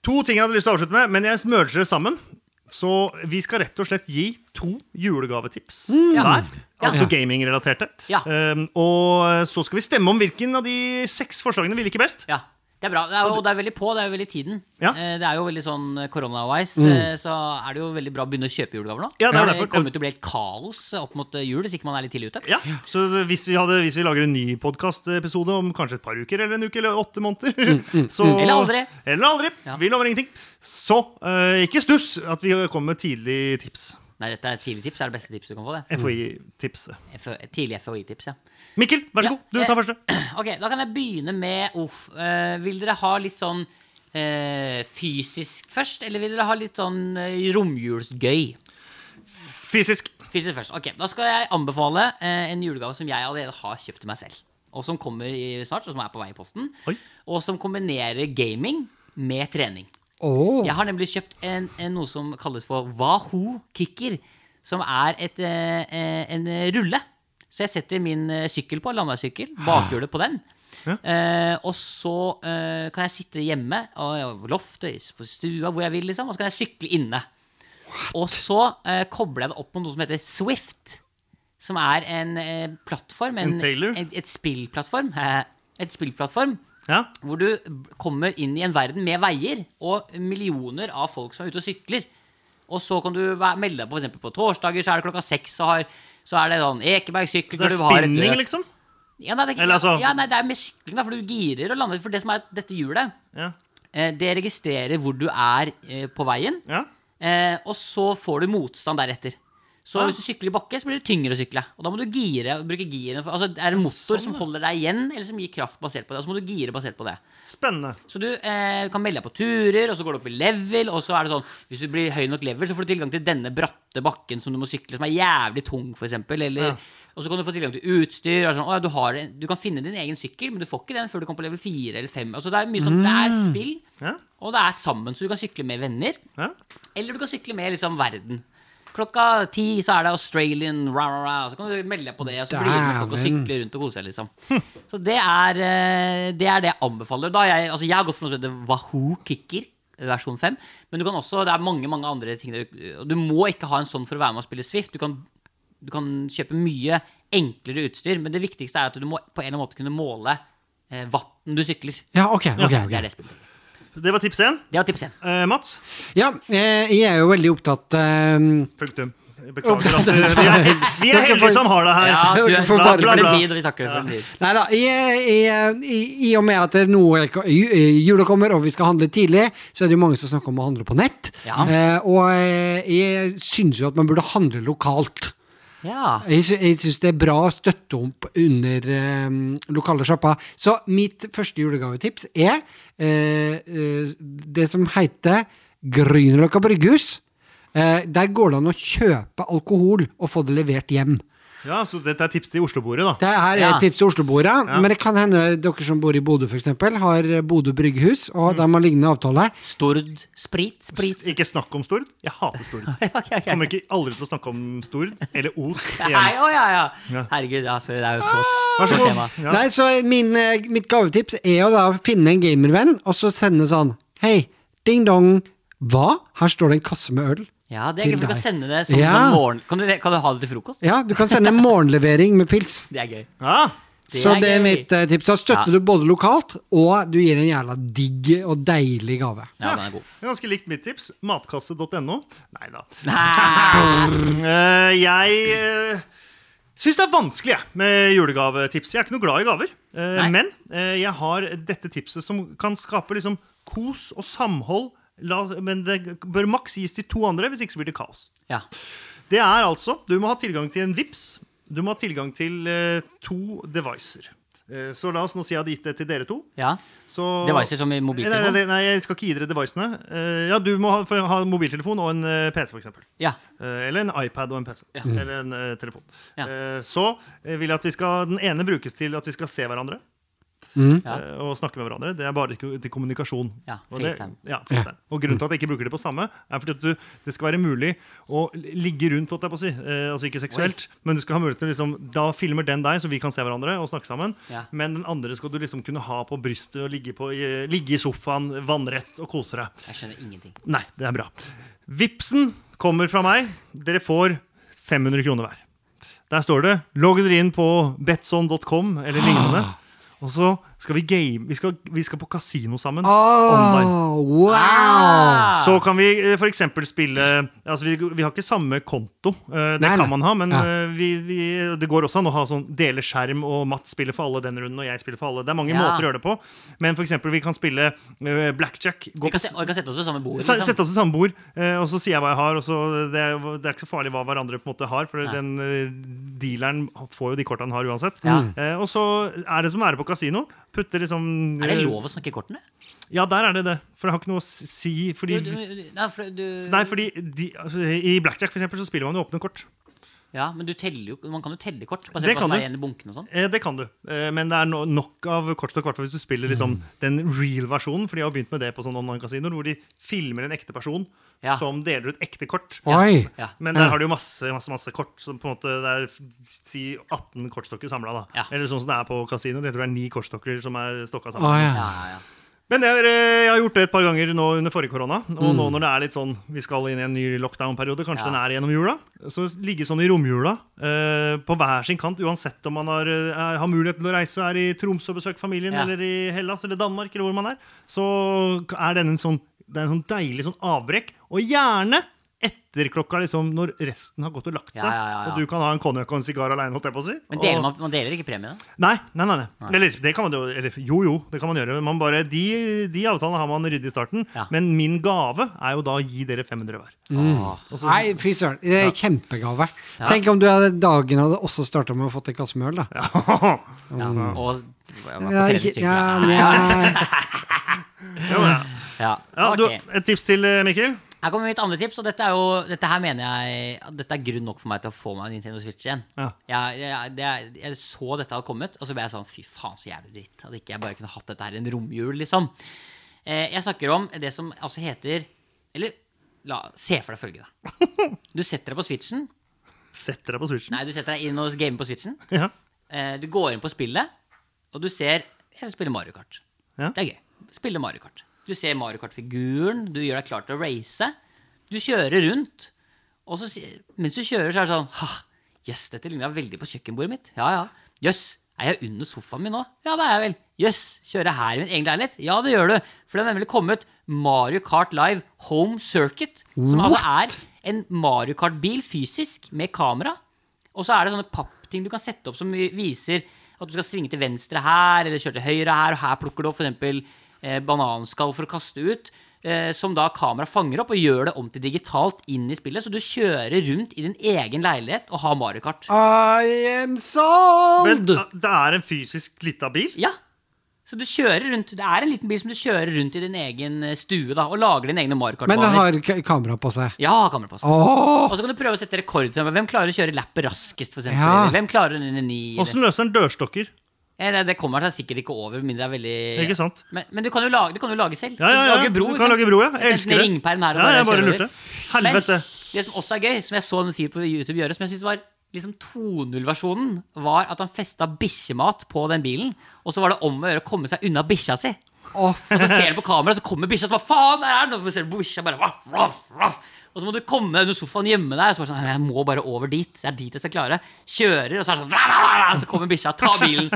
to ting jeg hadde lyst til å avslutte med, men jeg merger det sammen. Så vi skal rett og slett gi to julegavetips hver. Altså gamingrelaterte. Ja. Um, og så skal vi stemme om hvilken av de seks forslagene vi liker best. Ja, det er bra. Det er, jo- og det er veldig på, det er jo veldig i tiden. Ja. Mm. Eh, Det er jo veldig sånn eh, corona-wise, eh, så er det jo veldig bra å begynne å kjøpe julegaver nå. Eh, Ja, det er derfor. kommer til å bli helt kaos eh, opp mot eh, jul hvis ikke man er litt tidlig ute. Ja, så hvis vi, hadde, hvis vi lager en ny podkastepisode om kanskje et par uker eller en uke eller åtte måneder så, Mm, Eller aldri. Eller aldri. Ja. Vi lover ingenting. Så eh, ikke stuss at vi kommer med tidlig tips. Nei, dette er et tidlig tips, det er det beste tipset du kan få. det FHI-tipset. F Tidlig FHI-tips, ja. Mikkel, vær så Ja, god. Du tar eh, første. Ok, Da kan jeg begynne med uff. eh, vil dere ha litt sånn eh, fysisk først, eller vil dere ha litt sånn eh, romjulsgøy? Fysisk. Fysisk først. Ok, Da skal jeg anbefale eh, en julegave som jeg allerede har kjøpt til meg selv. Og som kommer i, snart, og som er på vei i posten. Oi. Og som kombinerer gaming med trening. Åh. Jeg har nemlig kjøpt en, en, noe som kalles for Wahoo Kicker. Som er et, eh, eh, en rulle. Så jeg setter min eh, sykkel på, landeveissykkel, bakhjulet på den. Eh, og så eh, kan jeg sitte hjemme, og, på loftet, på stua, hvor jeg vil, liksom. Og så kan jeg sykle inne. Og så eh, kobler jeg det opp på noe som heter Swift. Som er en eh, plattform. En, En Taylor? Et, et spillplattform. eh, Et spillplattform Ja. hvor du b- kommer inn i en verden med veier og millioner av folk som er ute og sykler. Og så kan du væ- melde deg på for eksempel på torsdager, så er det klokka seks, så, har, så er det sånn Ekeberg Så det er sykkelklubb har et spinning, løp. liksom? Ja, nei, det, er ikke- Eller altså- ja, nei, det er med sykling, da, for du girer og lander. For det som er dette hjulet, Ja. eh, det registrerer hvor du er eh, på veien. ja. Eh, og så får du motstand deretter. Så Ah. hvis du sykler i bakke, så blir det tyngre å sykle. Og da må du gire, bruke giren. for- Altså, det er en motor sånn, som holder deg igjen, eller som gir kraft basert på det. Og så må du gire basert på det. Spennende. Så du eh, kan melde deg på turer, og så går du opp i level, og så er det sånn Hvis du blir høy nok level, så får du tilgang til denne bratte bakken som du må sykle, som er jævlig tung, for eksempel, eller Ja. Og så kan du få tilgang til utstyr. Og sånn, å, ja, du, har en, du kan finne din egen sykkel, men du får ikke den før du kommer på level 4 eller 5. Altså, det er mye sånn, det er spill, Mm. Ja. og det er sammen, så du kan sykle med venner. Ja. Eller du kan sykle med liksom verden. Klokka ti så er det Australian, rah, rah, rah, så kan du melde deg på det. Og så blir du med folk og Dæven. sykler rundt og koser deg, liksom. Så det er eh, det, er det jeg anbefaler. Da har jeg, altså, jeg har gått for noe som heter Wahoo Kicker. Versjon 5. Men du kan også, det er mange mange andre ting der, og Du må ikke ha en sånn for å være med og spille Swift. Du kan, du kan kjøpe mye enklere utstyr, men det viktigste er at du må på en eller annen måte kunne måle eh, vatten du sykler. Ja, ok. ok, Det ok. er det spillet. Det var tips én. Det var tips én. Eh, Mats? Ja, eh, jeg er jo veldig opptatt eh, Punktum. Beklager at eh, vi er, vi er heldige som har det her. Ja, du, Jeg er- får takk ta for det. din tid. Vi takker for din tid. Nei da. I, i, i, I og med at det nå er ko- ju- eh, jula kommer, og vi skal handle tidlig, så er det jo mange som snakker om å handle på nett. Ja. Eh, og eh, jeg syns jo at man burde handle lokalt. Ja. Jeg, sy jeg syns det er bra å støtte opp under eh, lokale shopper. Så mitt første julegavetips er eh, eh, det som heter Grünerløkka Brygghus. Eh, der går det an å kjøpe alkohol og få det levert hjem. Ja, Så dette er tips til Oslo-bordet, da. Det her er Ja. et tips til Oslo-bordet, men det kan hende dere som bor i Bodø, for eksempel, har Bodø brygghus, Mm. og de har lignende avtale. Stord sprit? Sprit? Ikke snakk om Stord. Jeg hater Stord. Ok, ok. Kommer ikke aldri til å snakke om Stord eller Os Nei, igjen. å ja, ja. Ja. Ah! Herregud, altså, det er jo så Vær så så god. tema. Ja. Nei, så min, eh, mitt gavetips er å da finne en gamervenn, og så sende sånn Hei, ding-dong, hva? Her står det en kasse med øl. Ja, det er Til gøy, for du kan deg. sende det som Ja. sånn morgen... Kan du, kan du ha det til frokost? Ja, du kan sende en morgenlevering med pils. Det er gøy. Ja. Det så er det er gøy. mitt eh, tips. Da Ja. støtter du både lokalt, og du gir en jævla digg og deilig gave. Ja, den er god. Ganske likt mitt tips. Matkasse.no. Nei da. Nei. Eh, jeg uh, syns det er vanskelig jeg, med julegavetips. Jeg er ikke noe glad i gaver. Eh, Nei. men eh, jeg har dette tipset som kan skape liksom, kos og samhold. La, men det bør maks gis til to andre, hvis ikke så blir det kaos. Ja. Det er altså, Du må ha tilgang til en VIPS. Du må ha tilgang til eh, to devicer. Eh, så la oss nå si jeg hadde gitt det til dere to. ja. Så, Devices som i Nei, mobiltelefon? nei, nei, jeg skal ikke gi dere devicene. Eh, ja, du må ha, for, ha mobiltelefon og en eh, PC, for eksempel. Ja. Eh, Eller en iPad og en PC. Eller en eh, telefon. Ja. Eh, så eh, vil jeg at vi skal, den ene brukes til at vi skal se hverandre. Ja. eh, Og snakke med hverandre. Det er bare ikke- til kommunikasjon. Ja, Og det- FaceTime. Ja, FaceTime. Og grunnen til at jeg ikke bruker det på samme, er fordi at du, det skal være mulig å ligge rundt. holdt Jeg på å si. eh, altså ikke seksuelt, men du skal ha mulighet til å liksom, da filmer den deg, så vi kan se hverandre og snakke sammen. Ja. Men den andre skal du liksom kunne ha på brystet og ligge, på, i- ligge i sofaen vannrett og kose deg. Jeg skjønner ingenting. Nei, det er bra. Vipsen kommer fra meg. Dere får 500 kroner hver. Der står det. Logg dere inn på betson.com eller lignende. Og så skal vi game. Vi skal, vi skal på kasino sammen. Online. Åh, wow! Ah. Så kan vi f.eks. spille altså vi, vi har ikke samme konto. eh, Det Nei, nei. kan man ha, men Ja. eh, vi, vi, det går også an å ha sånn dele skjerm, og Matt spiller for alle den runden, og jeg spiller for alle. Det er mange Ja. måter å gjøre det på. Men f.eks. vi kan spille eh, blackjack. Gå på Vi kan, se, og vi kan sette oss ved samme bord. Se- Liksom. Sette oss i samme bord, eh, og så sier jeg hva jeg har. Og så det, er- det er ikke så farlig hva hverandre på en måte har, for Nei. den eh, dealeren får jo de kortene han har uansett. Ja. Eh, og så er det som å være på kasino. Putter liksom Er det eh, lov å snakke i kortene? Ja, der er det det. For det har ikke noe å s- si. Du, Fordi, du, du, nei, for, du, nei, fordi de, altså, I blackjack for eksempel, så spiller man jo åpne kort. ja, men du teller jo, man kan jo telle kort. Det Basert på kan hva som du. er igjen i bunken og sånn. Eh, det kan du. Eh, men det er no nok av kortstokk, hvertfall hvis du spiller liksom, Mm. den real versjonen. For de har jo begynt med det på sånne online-kasinoer, hvor de filmer en ekte person Ja. som deler ut ekte kort. Oi! Ja. Men der har du jo masse, masse, masse kort. Så på en måte det er f- si 18 kortstokker samla. da. Ja. Eller sånn som det er på kasino. Jeg tror det er ni kortstokker som er stokka sammen. Å, ja. Ja, ja, ja. Men jeg, eh, jeg har gjort det et par ganger nå under forrige korona. Og nå når det er litt sånn, vi skal inn i en ny lockdown-periode, kanskje Mm. Ja. den er gjennom jula, så ligge sånn i romjula eh, på hver sin kant, uansett om man har, eh, er, har mulighet til å reise, er i Tromsø og besøke familien, Ja. eller i Hellas eller Danmark, eller hvor man er, så er den en sånn, det er en sånn deilig sånn avbrekk. Og gjerne etter klokka, liksom, når resten har gått og lagt seg, Ja, ja, ja, ja. og du kan ha en konjakk og en sigar aleine, holdt jeg på å si. Men og- deler man, man deler ikke premiene? Nei, nei, nei, nei. Eller, det kan man jo, eller jo, jo, det kan man gjøre. Man bare, de, de avtalene har man ryddig i starten. Ja. Men min gave er jo da å gi dere 500 hver. Åh. Og så- Nei, fy søren. Det er kjempegave. Tenk om du hadde, dagen hadde også starta med å fått en kasse med øl, da. Ja, Ja, og ja, på Mm. ja, trening, ja, sikkert. nei. ja. ja, ok. du, et tips til eh, Mikkel? Her kommer mitt andre tips, og dette er jo Dette her mener jeg at Dette er grunn nok for meg til å få meg en Nintendo Switch igjen. Ja. Jeg, jeg, det, er- jeg så dette hadde kommet, og så ble jeg sånn Fy faen, så jævlig dritt. At ikke jeg bare kunne hatt dette her i en romjul, liksom. Eh, jeg snakker om det som altså heter Eller la, se for deg følgende. Du setter deg på Switchen. Sett dere på switchen. Nei, du setter deg inn og gamer på Switchen. Ja. Eh, Du går inn på spillet, og du ser Jeg skal spille Mario Kart. Ja. Det er gøy. Spille Mario Kart. Du ser Mario Kart-figuren, du gjør deg klar til å race. Du kjører rundt, og så, si- mens du kjører, så er det sånn «Ha, Jøss, dette ligna veldig på kjøkkenbordet mitt. Ja, ja. Jøss, er jeg under sofaen min nå? Ja, det er jeg vel. Jøss, kjører jeg her i min egen leilighet? Ja, det gjør du. For det har nemlig kommet Mario Kart Live Home Circuit, som altså er en Mario Kart-bil fysisk med kamera. Og så er det sånne pappting du kan sette opp som vi- viser at du skal svinge til venstre her, eller kjøre til høyre her, og her plukker du opp f.eks. Eh, bananskall for å kaste ut. Eh, som da kamera fanger opp og gjør det om til digitalt inn i spillet. Så du kjører rundt i din egen leilighet og har Mario Kart. I am sold! Men eh, det er en fysisk lita bil? Ja. Så du kjører rundt, det er en liten bil som du kjører rundt i din egen eh, stue da, og lager dine egne Mario Men den Kart-baner. har ka- kamera på seg. Ja, kamera på seg. Åh! Og så kan du prøve å sette rekord. for eksempel. Hvem klarer å kjøre lappet raskest? For eksempel? Ja. Eller Hvem klarer den i ni? eller- Åssen løser den dørstokker? Ja, det- det kommer seg sikkert ikke over, med mindre det er veldig Ikke sant? Men, men du kan jo lage, du kan jo lage selv. Ja, ja, Du ja. kan lage bro, Du ikke kan sant? lage bro, ja. Sette en Elsker det. ringperm her og Ja, jeg bare kjøre over. lurte. Helvete. Men det som også er gøy, som jeg så en fyr på YouTube gjøre, som jeg synes var liksom 2.0-versjonen, var at han festa bikkjemat på den bilen, og så var det om å gjøre å komme seg unna bikkja si. Og Åh, så ser du på kamera, så kommer bikkja og så bare faen, der er den! Og så ser du bikkja bare vaff, vaff, vaff. Og så må du komme under sofaen hjemme der. Og så bare sånn, jeg må bare over dit. Det er dit jeg skal klare. Kjører, og så er det sånn "Vra, vra, vra," Så kommer bikkja, tar bilen.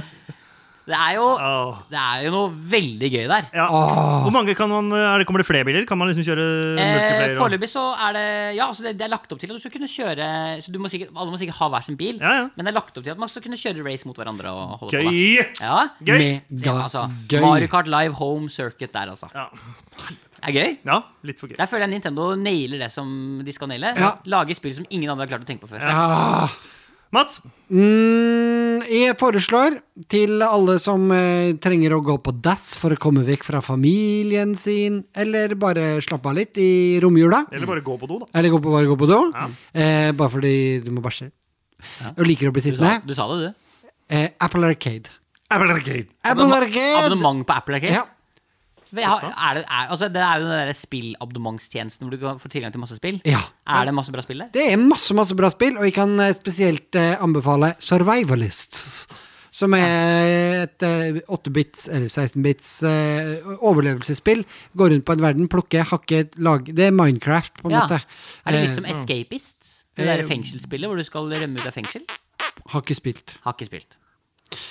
Det er jo Åh. Det er jo noe veldig gøy der. Ja. Hvor mange kan man, eh, er det, Kommer det flere biler? Kan man liksom kjøre Eh, multiplayer? og- Foreløpig så er det Ja, altså det, det er lagt opp til at du skal kunne kjøre Så du må sikkert, Alle må sikkert ha hver sin bil, Ja, ja. men det er lagt opp til at man skal kunne kjøre race mot hverandre. og holde på med. Gøy! Ja, Gøy! ja, Megagøy. altså, Mario Kart Live Home Circuit der, altså. Ja. Det er gøy. ja, litt for gøy. Der føler jeg Nintendo nailer det som de skal naile. Ja. Lager spill som ingen andre har klart å tenke på før. Ah. Mats, Mm, jeg foreslår til alle som eh, trenger å gå på dass for å komme vekk fra familien sin, eller bare slappe av litt i romjula, eller bare gå på do, da. eller gå på, bare gå på do, eh, bare fordi du må bæsje, og liker å bli Du, sa, sittende, du sa det, du. eh, Apple Arcade. Abelgate. Apple Arcade! Abonnement på Apple Arcade. Ja. Vi har- Er det, er, altså, det er jo den der spillabonnementstjenesten hvor du kan få tilgang til masse spill. ja. Er det masse bra spill der? Det er masse, masse bra spill, og jeg kan eh, spesielt eh, anbefale Survivalists. Som er et eh, 8-bits eller 16-bits eh, overlevelsesspill. Gå rundt på en verden, plukke, hakke, lage Det er Minecraft, på en Ja. måte. Er det litt Eh, som Escapists? Det Eh, der fengselsspillet hvor du skal rømme ut av fengsel? Har ikke spilt. Har ikke spilt.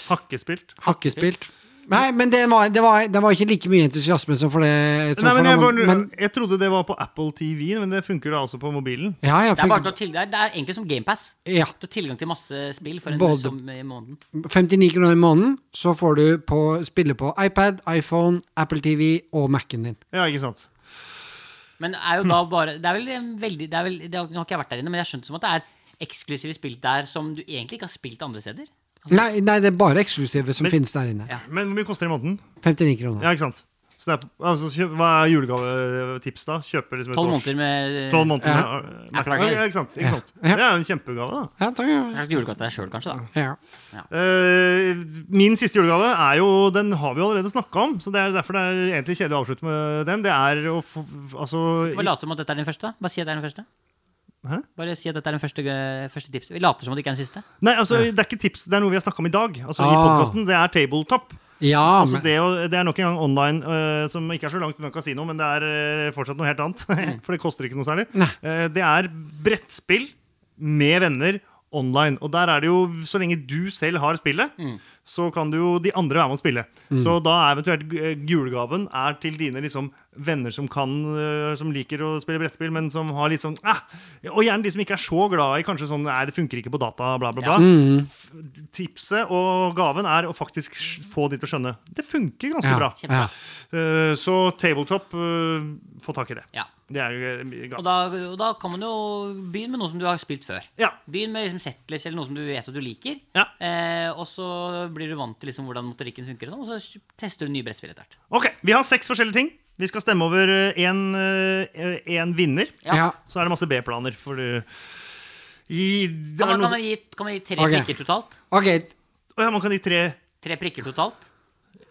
Hakkespilt. Har ikke spilt. Nei, men det var, det, var, det var ikke like mye entusiasme som for det. Som Nei, men for jeg, noen- bare, men- jeg trodde det var på Apple TV, men det funker da altså på mobilen. ja, ja, Det er, bare til for, å ha til, det er, det er egentlig som GamePass. ja. Du har tilgang til masse spill for en Både- som i måneden. 59 kroner i måneden, så får du på, spille på iPad, iPhone, Apple TV og Mac-en din. Ja, ikke sant? Men er jo da Hmm. bare Det er vel en veldig det er vel, det har, Nå har ikke jeg vært der inne, men jeg har skjønt som at det er eksklusive spill der som du egentlig ikke har spilt andre steder. Nei, nei, det er bare eksklusive som finnes der inne. Ja. Men hvor mye koster det i måneden? 59 kroner. Ja, ikke sant? Så det er, altså, kjøp, hva er julegavetips, da? Kjøper liksom et Tolv års- måneder med Tolv måneder med Ja. uh, Mac- Apple Arcade. Ja, ikke sant? Ikke sant? Ja. Det er jo en kjempegave, da. Ja, takk. ja. Kanskje julegave til deg sjøl, kanskje. da Ja. Eh, min siste julegave er jo Den har vi jo allerede snakka om, så det er derfor det er egentlig kjedelig å avslutte med den. Det er å få Altså Bare late som at dette er den første. Bare si at det er den første. Hæ? Bare si at dette er den første, eh, første tipset. Vi later som at det ikke er den siste. Nei, altså, det er ikke tips, det er noe vi har snakka om i dag. Altså i Ah. podcasten, Det er tabletop. ja Altså, men, det, å- det er nok en gang online, øh, som ikke er så langt unna kasino, men det er øh, fortsatt noe helt annet. For det koster ikke noe særlig. Eh, det er brettspill med venner online. Og der er det jo, så lenge du selv har spillet, så kan du jo de andre være med å spille. Så da er eventuelt gu- eh, julegaven er til dine liksom, venner som kan øh, Som liker å spille brettspill, men som har litt sånn ah! Og gjerne de som ikke er så glad i kanskje sånn Nei, det funker ikke på data, bla, bla, bla. F- Tipset og gaven er å faktisk sk- få de til å skjønne. Det funker ganske Ja, bra. Kjempebra. ja. Eh, så tabletop, eh, få tak i det. Ja. Det er jo eh, Og gaven. da, og da kan man jo begynne med noe som du har spilt før. Ja. Begynn med liksom settlers eller noe som du vet at du liker. Ja. Eh, og så blir du vant til liksom hvordan motorikken funker, og, sånn, og så tester du nye brettspill etter hvert. Ok, vi har seks forskjellige ting. Vi skal stemme over eh, én vinner. Ja. ja. Så er det masse B-planer. For eh, i, det Kan er man, noe- kan man, gi, kan man gi tre Ok. prikker totalt? Ok, Å ja, man kan gi tre Tre prikker totalt?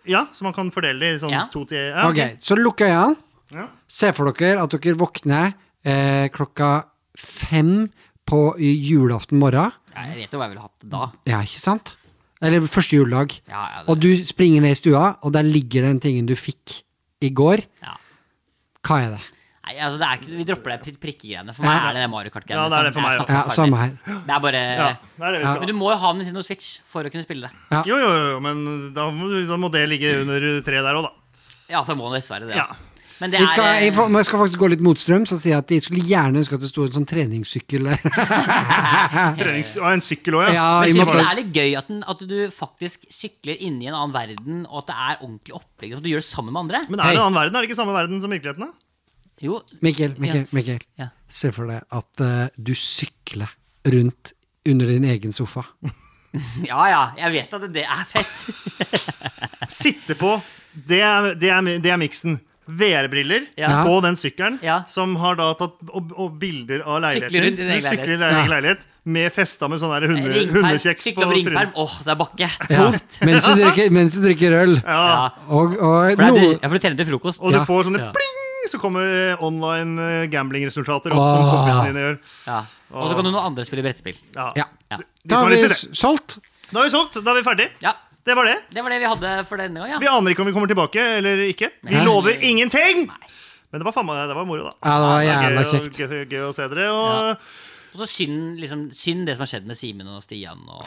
Ja, så man kan fordele det i sånn Ja. to til ja, ok, så lukker jeg den. Ja. Se for dere at dere våkner eh, klokka fem på julaften morgen. Ja, jeg vet jo hva jeg ville hatt da. Ja, ikke sant? Eller første juledag. Ja, ja, det- Og du springer ned i stua, og der ligger den tingen du fikk i går. Ja. Hva er det? Nei, altså det er ikke, Vi dropper det pri- prikkegreiene. For meg Ja. er det det Mario Ja, Kart-greiene. det er det for Jeg meg, ja. snakker Ja, ferdig. samme her. Det er bare Ja, det er det vi Ja. skal Men du ha. må jo ha Nintendo Switch for å kunne spille det. Jo, jo, jo, men da må, da må det ligge under treet der òg, da. Ja, så må det dessverre det. Ja. Altså. Men det Vi skal, er, eh, jeg, får- men jeg skal faktisk gå litt motstrøm, så sier jeg at jeg skulle gjerne ønske at det sto en sånn treningssykkel der. Trenings, og en sykkel òg, ja. Ja, Men i jeg synes måte- det er litt gøy at, den, at du faktisk sykler inni en annen verden, og at det er ordentlig opplegg, og at du gjør det sammen med andre? Men er det en annen verden? Er det ikke samme verden som virkeligheten? da? Jo, Mikkel, Mikkel, Ja. Mikkel. Ja. Se for deg at eh, du sykler rundt under din egen sofa. ja, ja, jeg vet at det er fett. Sitte på, det er, det er, det er miksen. VR-briller Ja. på den sykkelen, Ja. som har da tatt og, og bilder av leiligheten. Sykler rundt i din. din egen Du sykler i din leilighet. egen leilighet med festa med sånn der hunde, Ringperm, hundekjeks sykle over ringperm. Åh, det er bakke. Ja. Tungt. Mens, du drikker, mens du drikker øl. Ja. Ja. Og, og For, det er, noe du- ja, for du tjener til frokost. Og du Ja. får sånne Ja. pling, så kommer eh, online eh, gambling-resultater opp som kompisene dine gjør. Ja. Og så kan noen andre spille brettspill. Ja. ja. Ja. som Da har har vi lyst til s- solgt. Da er vi solgt, da er vi ferdig. ja. Det var det. Det var det vi hadde for denne gang, Vi ja. aner ikke om vi kommer tilbake eller ikke. Vi Nei. lover ingenting! Men det var faen meg det var moro, da. Ja, det var jævla Gøy, kjekt. å- gøy, gøy å se dere. Og, Og så synd, liksom, synd det som har skjedd med Simen og Stian og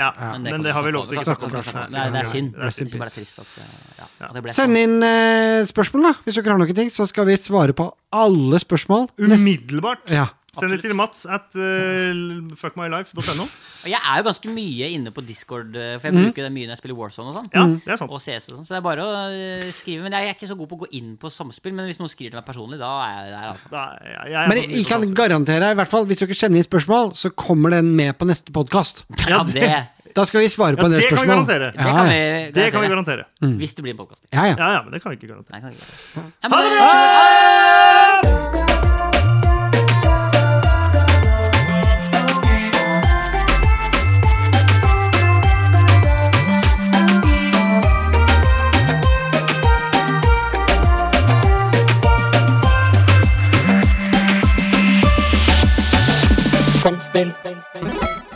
ja. Men Men kan det har vi vi lovet snakke ikke. snakke om. om. Snakke om. Nei, det er synd. Det er Det synd. er bare trist at uh, ja, at det ble sånn. Send inn eh, spørsmål, da. Hvis dere har noen ting, så skal vi svare på alle spørsmål. Nest- Umiddelbart. Ja. Send det til mats at eh, fuckmylife.no. Og jeg er jo ganske mye inne på Discord, eh, for jeg bruker det mye når jeg spiller Warzone og sånn. Mm. Ja, det er sant. Og CS og sånn, så det er bare å eh, skrive. Men jeg er ikke så god på å gå inn på samspill, men hvis noen skriver til meg personlig, da er jeg der, altså. Da, jeg, jeg, er på Men jeg, den jeg kan mye på garantere, i hvert fall hvis dere sender inn spørsmål, så kommer den med på neste podkast. Ja, det, Da skal vi svare på Ja, en del det kan vi spørsmål. garantere. Det det kan vi samspill. Det kan vi garantere. garantere. Hvis det blir en podkast. Ja, ja. Ja, ja, men det kan vi ikke garantere. Ah! Nei, kan vi ikke. Ja, men, eh, Samspill. Samspill.